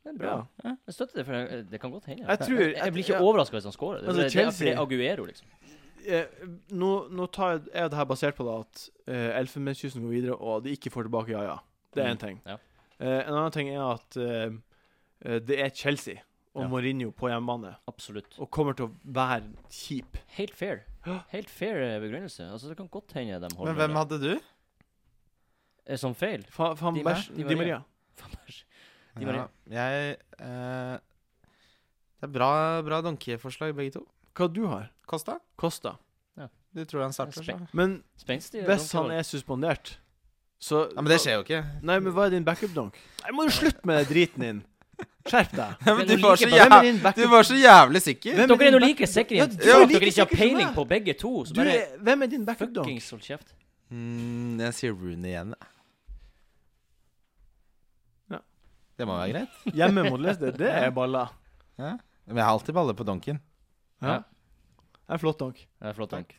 [SPEAKER 3] Det er bra.
[SPEAKER 1] Ja.
[SPEAKER 3] Jeg støtter det, for det, det kan godt hende.
[SPEAKER 1] Jeg tror
[SPEAKER 3] jeg, jeg blir ikke
[SPEAKER 1] ja.
[SPEAKER 3] overraska hvis han scorer. Det,
[SPEAKER 1] Altså,
[SPEAKER 3] det, det, er
[SPEAKER 1] Chelsea-
[SPEAKER 3] fordi Aguero, liksom.
[SPEAKER 1] Eh, nå, nå tar jeg, er det her basert på da at eh, Elfenbenskysten går videre, og de ikke får tilbake ja-ja. Det er
[SPEAKER 3] Mm,
[SPEAKER 1] én ting.
[SPEAKER 3] ja.
[SPEAKER 1] Eh, en annen ting er at eh, eh, det er Chelsea og
[SPEAKER 2] Ja.
[SPEAKER 1] Mourinho på hjemmebane,
[SPEAKER 3] Absolutt.
[SPEAKER 1] og kommer til å være kjip.
[SPEAKER 3] Helt
[SPEAKER 1] [GASPS]
[SPEAKER 3] fair. Helt fair eh, begrunnelse. Altså, det kan godt hende de holder
[SPEAKER 2] Men hvem
[SPEAKER 3] nullen.
[SPEAKER 2] hadde du?
[SPEAKER 3] Eh, Som feil?
[SPEAKER 1] Fa, faen,
[SPEAKER 3] Di Maria,
[SPEAKER 1] bæsj,
[SPEAKER 3] Di
[SPEAKER 1] Di Maria.
[SPEAKER 3] Faen, bæsj. De var
[SPEAKER 2] jeg eh, Det er bra, bra donkeforslag, begge to.
[SPEAKER 1] Hva du har?
[SPEAKER 2] Costa?
[SPEAKER 1] Kosta.
[SPEAKER 2] Du tror han starter?
[SPEAKER 3] Respekt.
[SPEAKER 2] så?
[SPEAKER 1] Men
[SPEAKER 3] Spenstig.
[SPEAKER 1] hvis han er suspendert, så
[SPEAKER 2] Ja, Men det skjer jo ikke.
[SPEAKER 1] Nei, men hva er din backup-donk? Nei, må du slutte med den driten din! Skjerp deg!
[SPEAKER 2] [LAUGHS] Ja, men
[SPEAKER 3] Det er
[SPEAKER 2] du,
[SPEAKER 3] noe
[SPEAKER 2] var
[SPEAKER 3] like
[SPEAKER 2] så
[SPEAKER 1] Hvem
[SPEAKER 3] bra.
[SPEAKER 2] jæv...
[SPEAKER 1] er din
[SPEAKER 2] du
[SPEAKER 1] backup?
[SPEAKER 2] var så jævlig sikker.
[SPEAKER 1] Hvem
[SPEAKER 3] Dere er
[SPEAKER 1] din
[SPEAKER 3] nå
[SPEAKER 1] back-
[SPEAKER 3] like sikre i
[SPEAKER 1] Ja,
[SPEAKER 3] at
[SPEAKER 1] du er like
[SPEAKER 3] dere ikke har
[SPEAKER 1] sikker som
[SPEAKER 3] peiling
[SPEAKER 1] meg.
[SPEAKER 3] på begge to. Så
[SPEAKER 1] Du
[SPEAKER 3] bare
[SPEAKER 1] er, hvem er din backup-donk?
[SPEAKER 3] fuckings hold kjeft.
[SPEAKER 2] Mm, jeg sier Rooney igjen. jeg.
[SPEAKER 1] Ja.
[SPEAKER 2] Det må være greit.
[SPEAKER 1] Hjemme mot Leicester, det er balla.
[SPEAKER 2] Men jeg har alltid baller på donken.
[SPEAKER 1] Ja.
[SPEAKER 3] Ja.
[SPEAKER 1] Det er flott donk.
[SPEAKER 3] Ja, flott donk.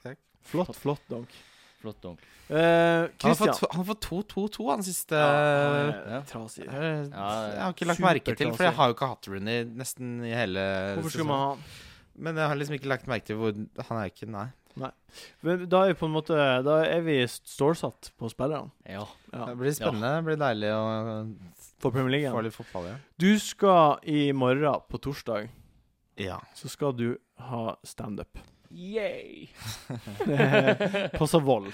[SPEAKER 1] Flott, flott donk.
[SPEAKER 3] Flott donk.
[SPEAKER 1] Eh,
[SPEAKER 2] Han har
[SPEAKER 1] Christian.
[SPEAKER 2] fått- han har fått 2-2-2, han siste
[SPEAKER 1] Ja, han er eh,
[SPEAKER 3] Ja.
[SPEAKER 1] Trasig.
[SPEAKER 2] Jeg har-
[SPEAKER 3] Ja,
[SPEAKER 2] jeg har ikke lagt merke til, for jeg
[SPEAKER 1] superklasse.
[SPEAKER 2] har jo ikke hatt Rooney nesten i hele
[SPEAKER 1] Hvorfor skulle
[SPEAKER 2] sesongen.
[SPEAKER 1] man ha han?
[SPEAKER 2] Men jeg har liksom ikke lagt merke til hvor Han er jo ikke Nei.
[SPEAKER 1] Men Da er vi på en måte Da er vi stålsatt på spillerne.
[SPEAKER 3] Ja.
[SPEAKER 1] Ja,
[SPEAKER 2] Det blir spennende. Det blir deilig å
[SPEAKER 1] for Premier League.
[SPEAKER 2] få
[SPEAKER 1] igjen.
[SPEAKER 2] litt fotball igjen.
[SPEAKER 1] Du skal i morgen, på torsdag,
[SPEAKER 2] Ja.
[SPEAKER 1] så skal du ha [LAUGHS] standup.
[SPEAKER 3] Yay.
[SPEAKER 1] på Savoll.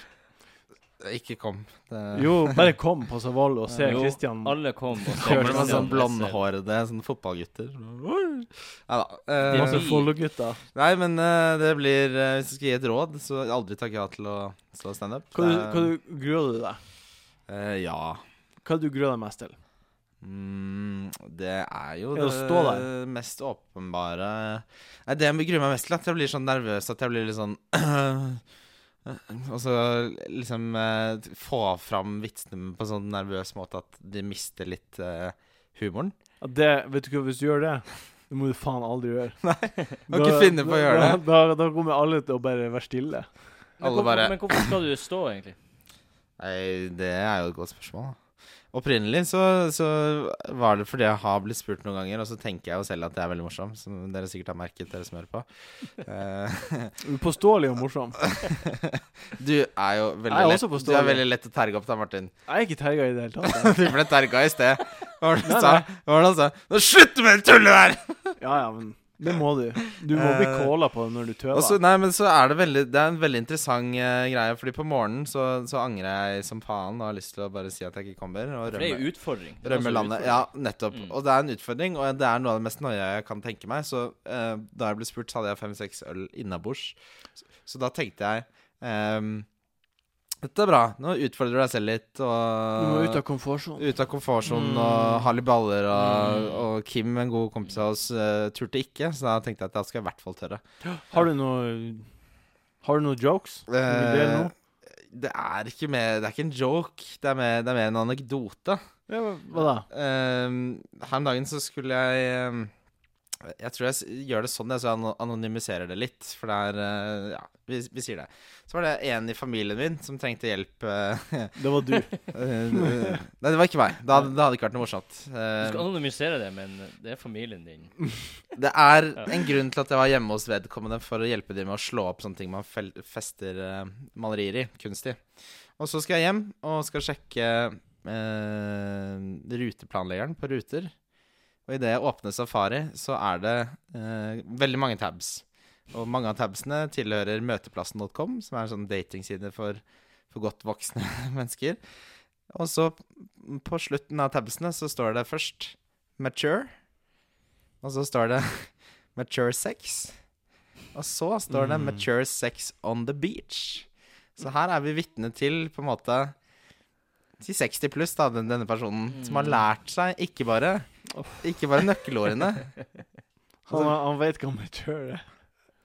[SPEAKER 2] Ikke kom. Det
[SPEAKER 1] Jo, bare kom på Savoll og se
[SPEAKER 3] Jo,
[SPEAKER 1] Christian.
[SPEAKER 3] Alle kom. Og
[SPEAKER 2] kommer det med
[SPEAKER 1] Christian
[SPEAKER 2] sånn blondhårede sånn fotballgutter. Nei da.
[SPEAKER 1] Og
[SPEAKER 2] Eh,
[SPEAKER 1] så Follo-gutta.
[SPEAKER 2] nei, men eh, det blir eh, Hvis jeg skal gi et råd, så aldri takk ja til å stå standup.
[SPEAKER 1] Hva, du- hva du gruer du deg
[SPEAKER 2] Eh, ja.
[SPEAKER 1] Hva du gruer deg mest til?
[SPEAKER 2] Mm, det er jo
[SPEAKER 1] Er det å stå der?
[SPEAKER 2] mest åpenbare Nei, Det jeg gruer meg mest til, er at jeg blir sånn nervøs at jeg blir litt sånn [CLEARS THROAT] Og så liksom eh, få fram vitsene på en sånn nervøs måte at de mister litt eh, humoren.
[SPEAKER 1] Ja, Det, vet du hva, Hvis du gjør det, Det må du faen aldri gjøre.
[SPEAKER 2] Må ikke finne på å gjøre
[SPEAKER 1] da,
[SPEAKER 2] det.
[SPEAKER 1] da, da kommer alle til å bare være stille.
[SPEAKER 3] Men,
[SPEAKER 2] Alle
[SPEAKER 3] hvorfor,
[SPEAKER 2] bare-
[SPEAKER 3] men hvorfor skal du stå, egentlig?
[SPEAKER 2] Nei, det er jo et godt spørsmål. da. Opprinnelig så, så var det fordi jeg har blitt spurt noen ganger, og så tenker jeg jo selv at jeg er veldig morsom, som dere sikkert har merket, dere som hører på. Eh, [LAUGHS]
[SPEAKER 1] Upåståelig og morsom.
[SPEAKER 2] du er jo veldig,
[SPEAKER 1] Jeg er
[SPEAKER 2] lett,
[SPEAKER 1] også
[SPEAKER 2] du er
[SPEAKER 1] forståelig.
[SPEAKER 2] veldig lett å terge opp da, Martin.
[SPEAKER 1] Jeg er ikke terga i det hele tatt. jeg.
[SPEAKER 2] Du ble terga i sted. Hva var det
[SPEAKER 1] Nei,
[SPEAKER 2] han sa? Hva var det han sa? Nå slutt med det tullet der!
[SPEAKER 1] Ja, ja, men det må du. Du må bli
[SPEAKER 2] Eh, altså,
[SPEAKER 1] calla på når du
[SPEAKER 2] Og så-
[SPEAKER 1] tøver.
[SPEAKER 2] nei, men så er det veldig Det er en veldig interessant eh, greie, fordi på morgenen så, så angrer jeg som faen og har lyst til å bare si at jeg ikke kommer, og
[SPEAKER 3] For det er
[SPEAKER 2] rømme.
[SPEAKER 3] jo utfordring. Det er
[SPEAKER 2] Rømme
[SPEAKER 3] altså
[SPEAKER 2] landet.
[SPEAKER 3] utfordring.
[SPEAKER 2] Ja, nettopp.
[SPEAKER 3] Mm.
[SPEAKER 2] Og det er en utfordring, og det er noe av det mest nøye jeg kan tenke meg. Så eh, da jeg ble spurt, så hadde jeg fem-seks øl innabords. Så, så da tenkte jeg ehm, Dette er bra. Nå utfordrer du deg selv litt. Og
[SPEAKER 1] Du må ut av komfortsonen.
[SPEAKER 2] ut av komfortsonen
[SPEAKER 1] Mm.
[SPEAKER 2] og ha litt baller. Og,
[SPEAKER 3] Mm.
[SPEAKER 2] og Kim, en god kompis av oss, eh, turte ikke, så da tenkte jeg at da skal jeg i hvert fall tørre.
[SPEAKER 1] Har du noe Har du noen jokes? Vil du dele noe?
[SPEAKER 2] Eh, det er ikke mer Det er ikke en joke. Det er mer, det er mer en anekdote.
[SPEAKER 1] Ja, men hva da?
[SPEAKER 2] Ehm, her om dagen så skulle jeg ehm, Jeg tror jeg s- gjør det sånn, jeg, så jeg ano- anonymiserer det litt. For det er eh, Ja, vi, vi sier det. Så var det en i familien min som trengte hjelp. eh, [LAUGHS]
[SPEAKER 1] Det var du.
[SPEAKER 2] eh, nei, det var ikke meg. Da, hadde- det hadde ikke vært noe morsomt.
[SPEAKER 3] Du skal
[SPEAKER 2] Eh,
[SPEAKER 3] anonymisere det, men det er familien din.
[SPEAKER 2] det er en grunn til at jeg var hjemme hos vedkommende for å hjelpe dem med å slå opp sånne ting man fel fester eh, malerier i. Kunst i. Og så skal jeg hjem og skal sjekke eh, ruteplanleggeren på ruter. Og idet jeg åpner Safari, så er det eh, veldig mange tabs. Og mange av tabsene tilhører møteplassen.com, som er en sånn datingside for, for godt voksne [LAUGHS] mennesker. Og så på slutten av tabsene så står det først 'mature', og så står det [LAUGHS] 'mature sex', og så står det
[SPEAKER 1] Mm.
[SPEAKER 2] 'mature sex on the beach'. Så her er vi vitne til på en måte til 60 pluss, da, den, denne personen, som har
[SPEAKER 3] Mm.
[SPEAKER 2] lært seg ikke bare Ikke bare nøkkelårene,
[SPEAKER 1] Han,
[SPEAKER 2] Altså,
[SPEAKER 1] han veit hva man gjør.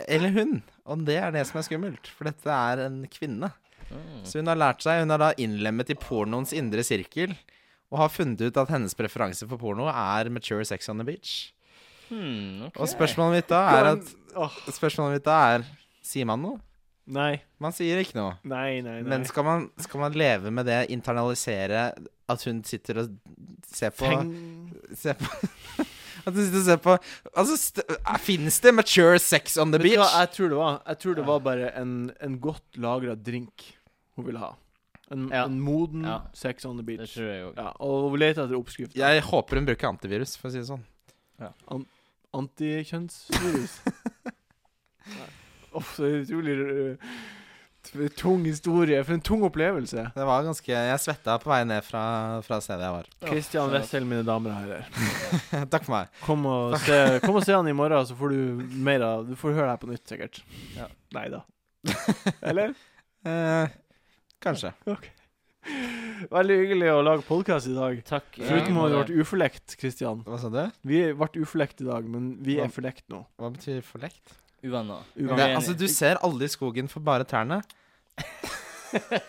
[SPEAKER 2] eller hun. Og det er det som er skummelt, for dette er en kvinne.
[SPEAKER 3] Mm.
[SPEAKER 2] Så hun har lært seg, hun er da innlemmet i pornoens indre sirkel, og har funnet ut at hennes preferanse for porno er mature sex on the beach.
[SPEAKER 3] Hmm, ok.
[SPEAKER 2] Og spørsmålet mitt da er at Spørsmålet mitt da er Sier man noe?
[SPEAKER 1] Nei,
[SPEAKER 2] Man sier ikke noe.
[SPEAKER 1] nei, nei. nei.
[SPEAKER 2] Men skal man, skal man leve med det, internalisere at hun sitter og ser på
[SPEAKER 1] Tenk-
[SPEAKER 2] Se på [LAUGHS] At du sitter og ser på Altså, st Fins det mature sex on the
[SPEAKER 1] Vet du
[SPEAKER 2] beach?
[SPEAKER 1] hva jeg tror det var? Jeg tror det var bare en, en godt lagra drink hun ville ha. En,
[SPEAKER 3] Ja.
[SPEAKER 1] en moden
[SPEAKER 3] Ja.
[SPEAKER 1] sex on the
[SPEAKER 3] Det
[SPEAKER 1] beach.
[SPEAKER 3] tror jeg òg.
[SPEAKER 1] Ja, og hun leter etter oppskrift.
[SPEAKER 2] Jeg håper hun bruker antivirus, for å si det sånn. [LAUGHS]
[SPEAKER 1] Antikjønnsvirus. Nei. Uff, det er en utrolig uh, t- tung historie. For en tung opplevelse.
[SPEAKER 2] Det var ganske Jeg svetta på vei ned fra, fra stedet jeg var. [LAUGHS]
[SPEAKER 1] Kristian Wessel, mine damer og herrer.
[SPEAKER 2] Takk for meg.
[SPEAKER 1] Kom og, se, kom og se han i morgen, så får du mer av Du får høre det her på nytt, sikkert.
[SPEAKER 3] Ja.
[SPEAKER 1] Nei
[SPEAKER 2] [LAUGHS]
[SPEAKER 1] da. Eller?
[SPEAKER 2] Eh, kanskje.
[SPEAKER 1] Veldig hyggelig å lage podkast i dag.
[SPEAKER 3] Takk. eh,
[SPEAKER 1] Foruten at vi
[SPEAKER 3] Mare.
[SPEAKER 1] ble uforlekt, Kristian.
[SPEAKER 2] Hva sa du?
[SPEAKER 1] Vi ble uforlekt i dag, men vi
[SPEAKER 2] Ja.
[SPEAKER 1] er forlekt nå.
[SPEAKER 2] Hva betyr forlekt?
[SPEAKER 3] Uvenner.
[SPEAKER 2] Det,
[SPEAKER 1] Uansett.
[SPEAKER 3] Uenig. [LAUGHS]
[SPEAKER 2] altså, du ser aldri skogen for bare trærne.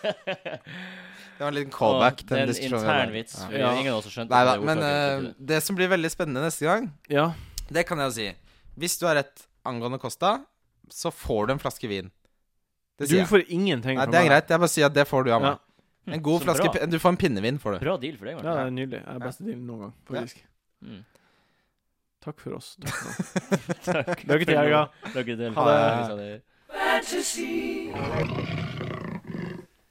[SPEAKER 2] Det var en liten callback.
[SPEAKER 3] Å,
[SPEAKER 2] til den
[SPEAKER 3] det er en
[SPEAKER 2] diskusjonen vi
[SPEAKER 3] intern
[SPEAKER 2] hadde.
[SPEAKER 3] vits. for
[SPEAKER 1] Ja.
[SPEAKER 3] Ingen av oss har skjønt
[SPEAKER 2] Nei da.
[SPEAKER 3] at det
[SPEAKER 2] Men
[SPEAKER 3] ordtaket
[SPEAKER 2] eh,
[SPEAKER 3] betyr det.
[SPEAKER 2] det som blir veldig spennende neste gang,
[SPEAKER 1] Ja.
[SPEAKER 2] det kan jeg jo si Hvis du har rett angående Costa, så får du en flaske vin. Det
[SPEAKER 1] Du
[SPEAKER 2] sier jeg.
[SPEAKER 1] får ingenting
[SPEAKER 2] Nei,
[SPEAKER 1] fra
[SPEAKER 2] det er
[SPEAKER 1] meg.
[SPEAKER 2] greit. Jeg bare sier at det får du av meg. En god
[SPEAKER 3] Så
[SPEAKER 2] flaske
[SPEAKER 3] bra.
[SPEAKER 2] pi- Du får en pinnevin, får du.
[SPEAKER 3] Bra deal for deg,
[SPEAKER 1] Ja,
[SPEAKER 3] Martin.
[SPEAKER 1] det er nydelig. Det er beste dealen noen gang, faktisk.
[SPEAKER 3] Mm.
[SPEAKER 1] Takk for oss. Takk for nå.
[SPEAKER 3] Takk.
[SPEAKER 1] Lykke til i helga.
[SPEAKER 3] Lykke til.
[SPEAKER 1] Ha det.
[SPEAKER 3] det.
[SPEAKER 4] fantasy.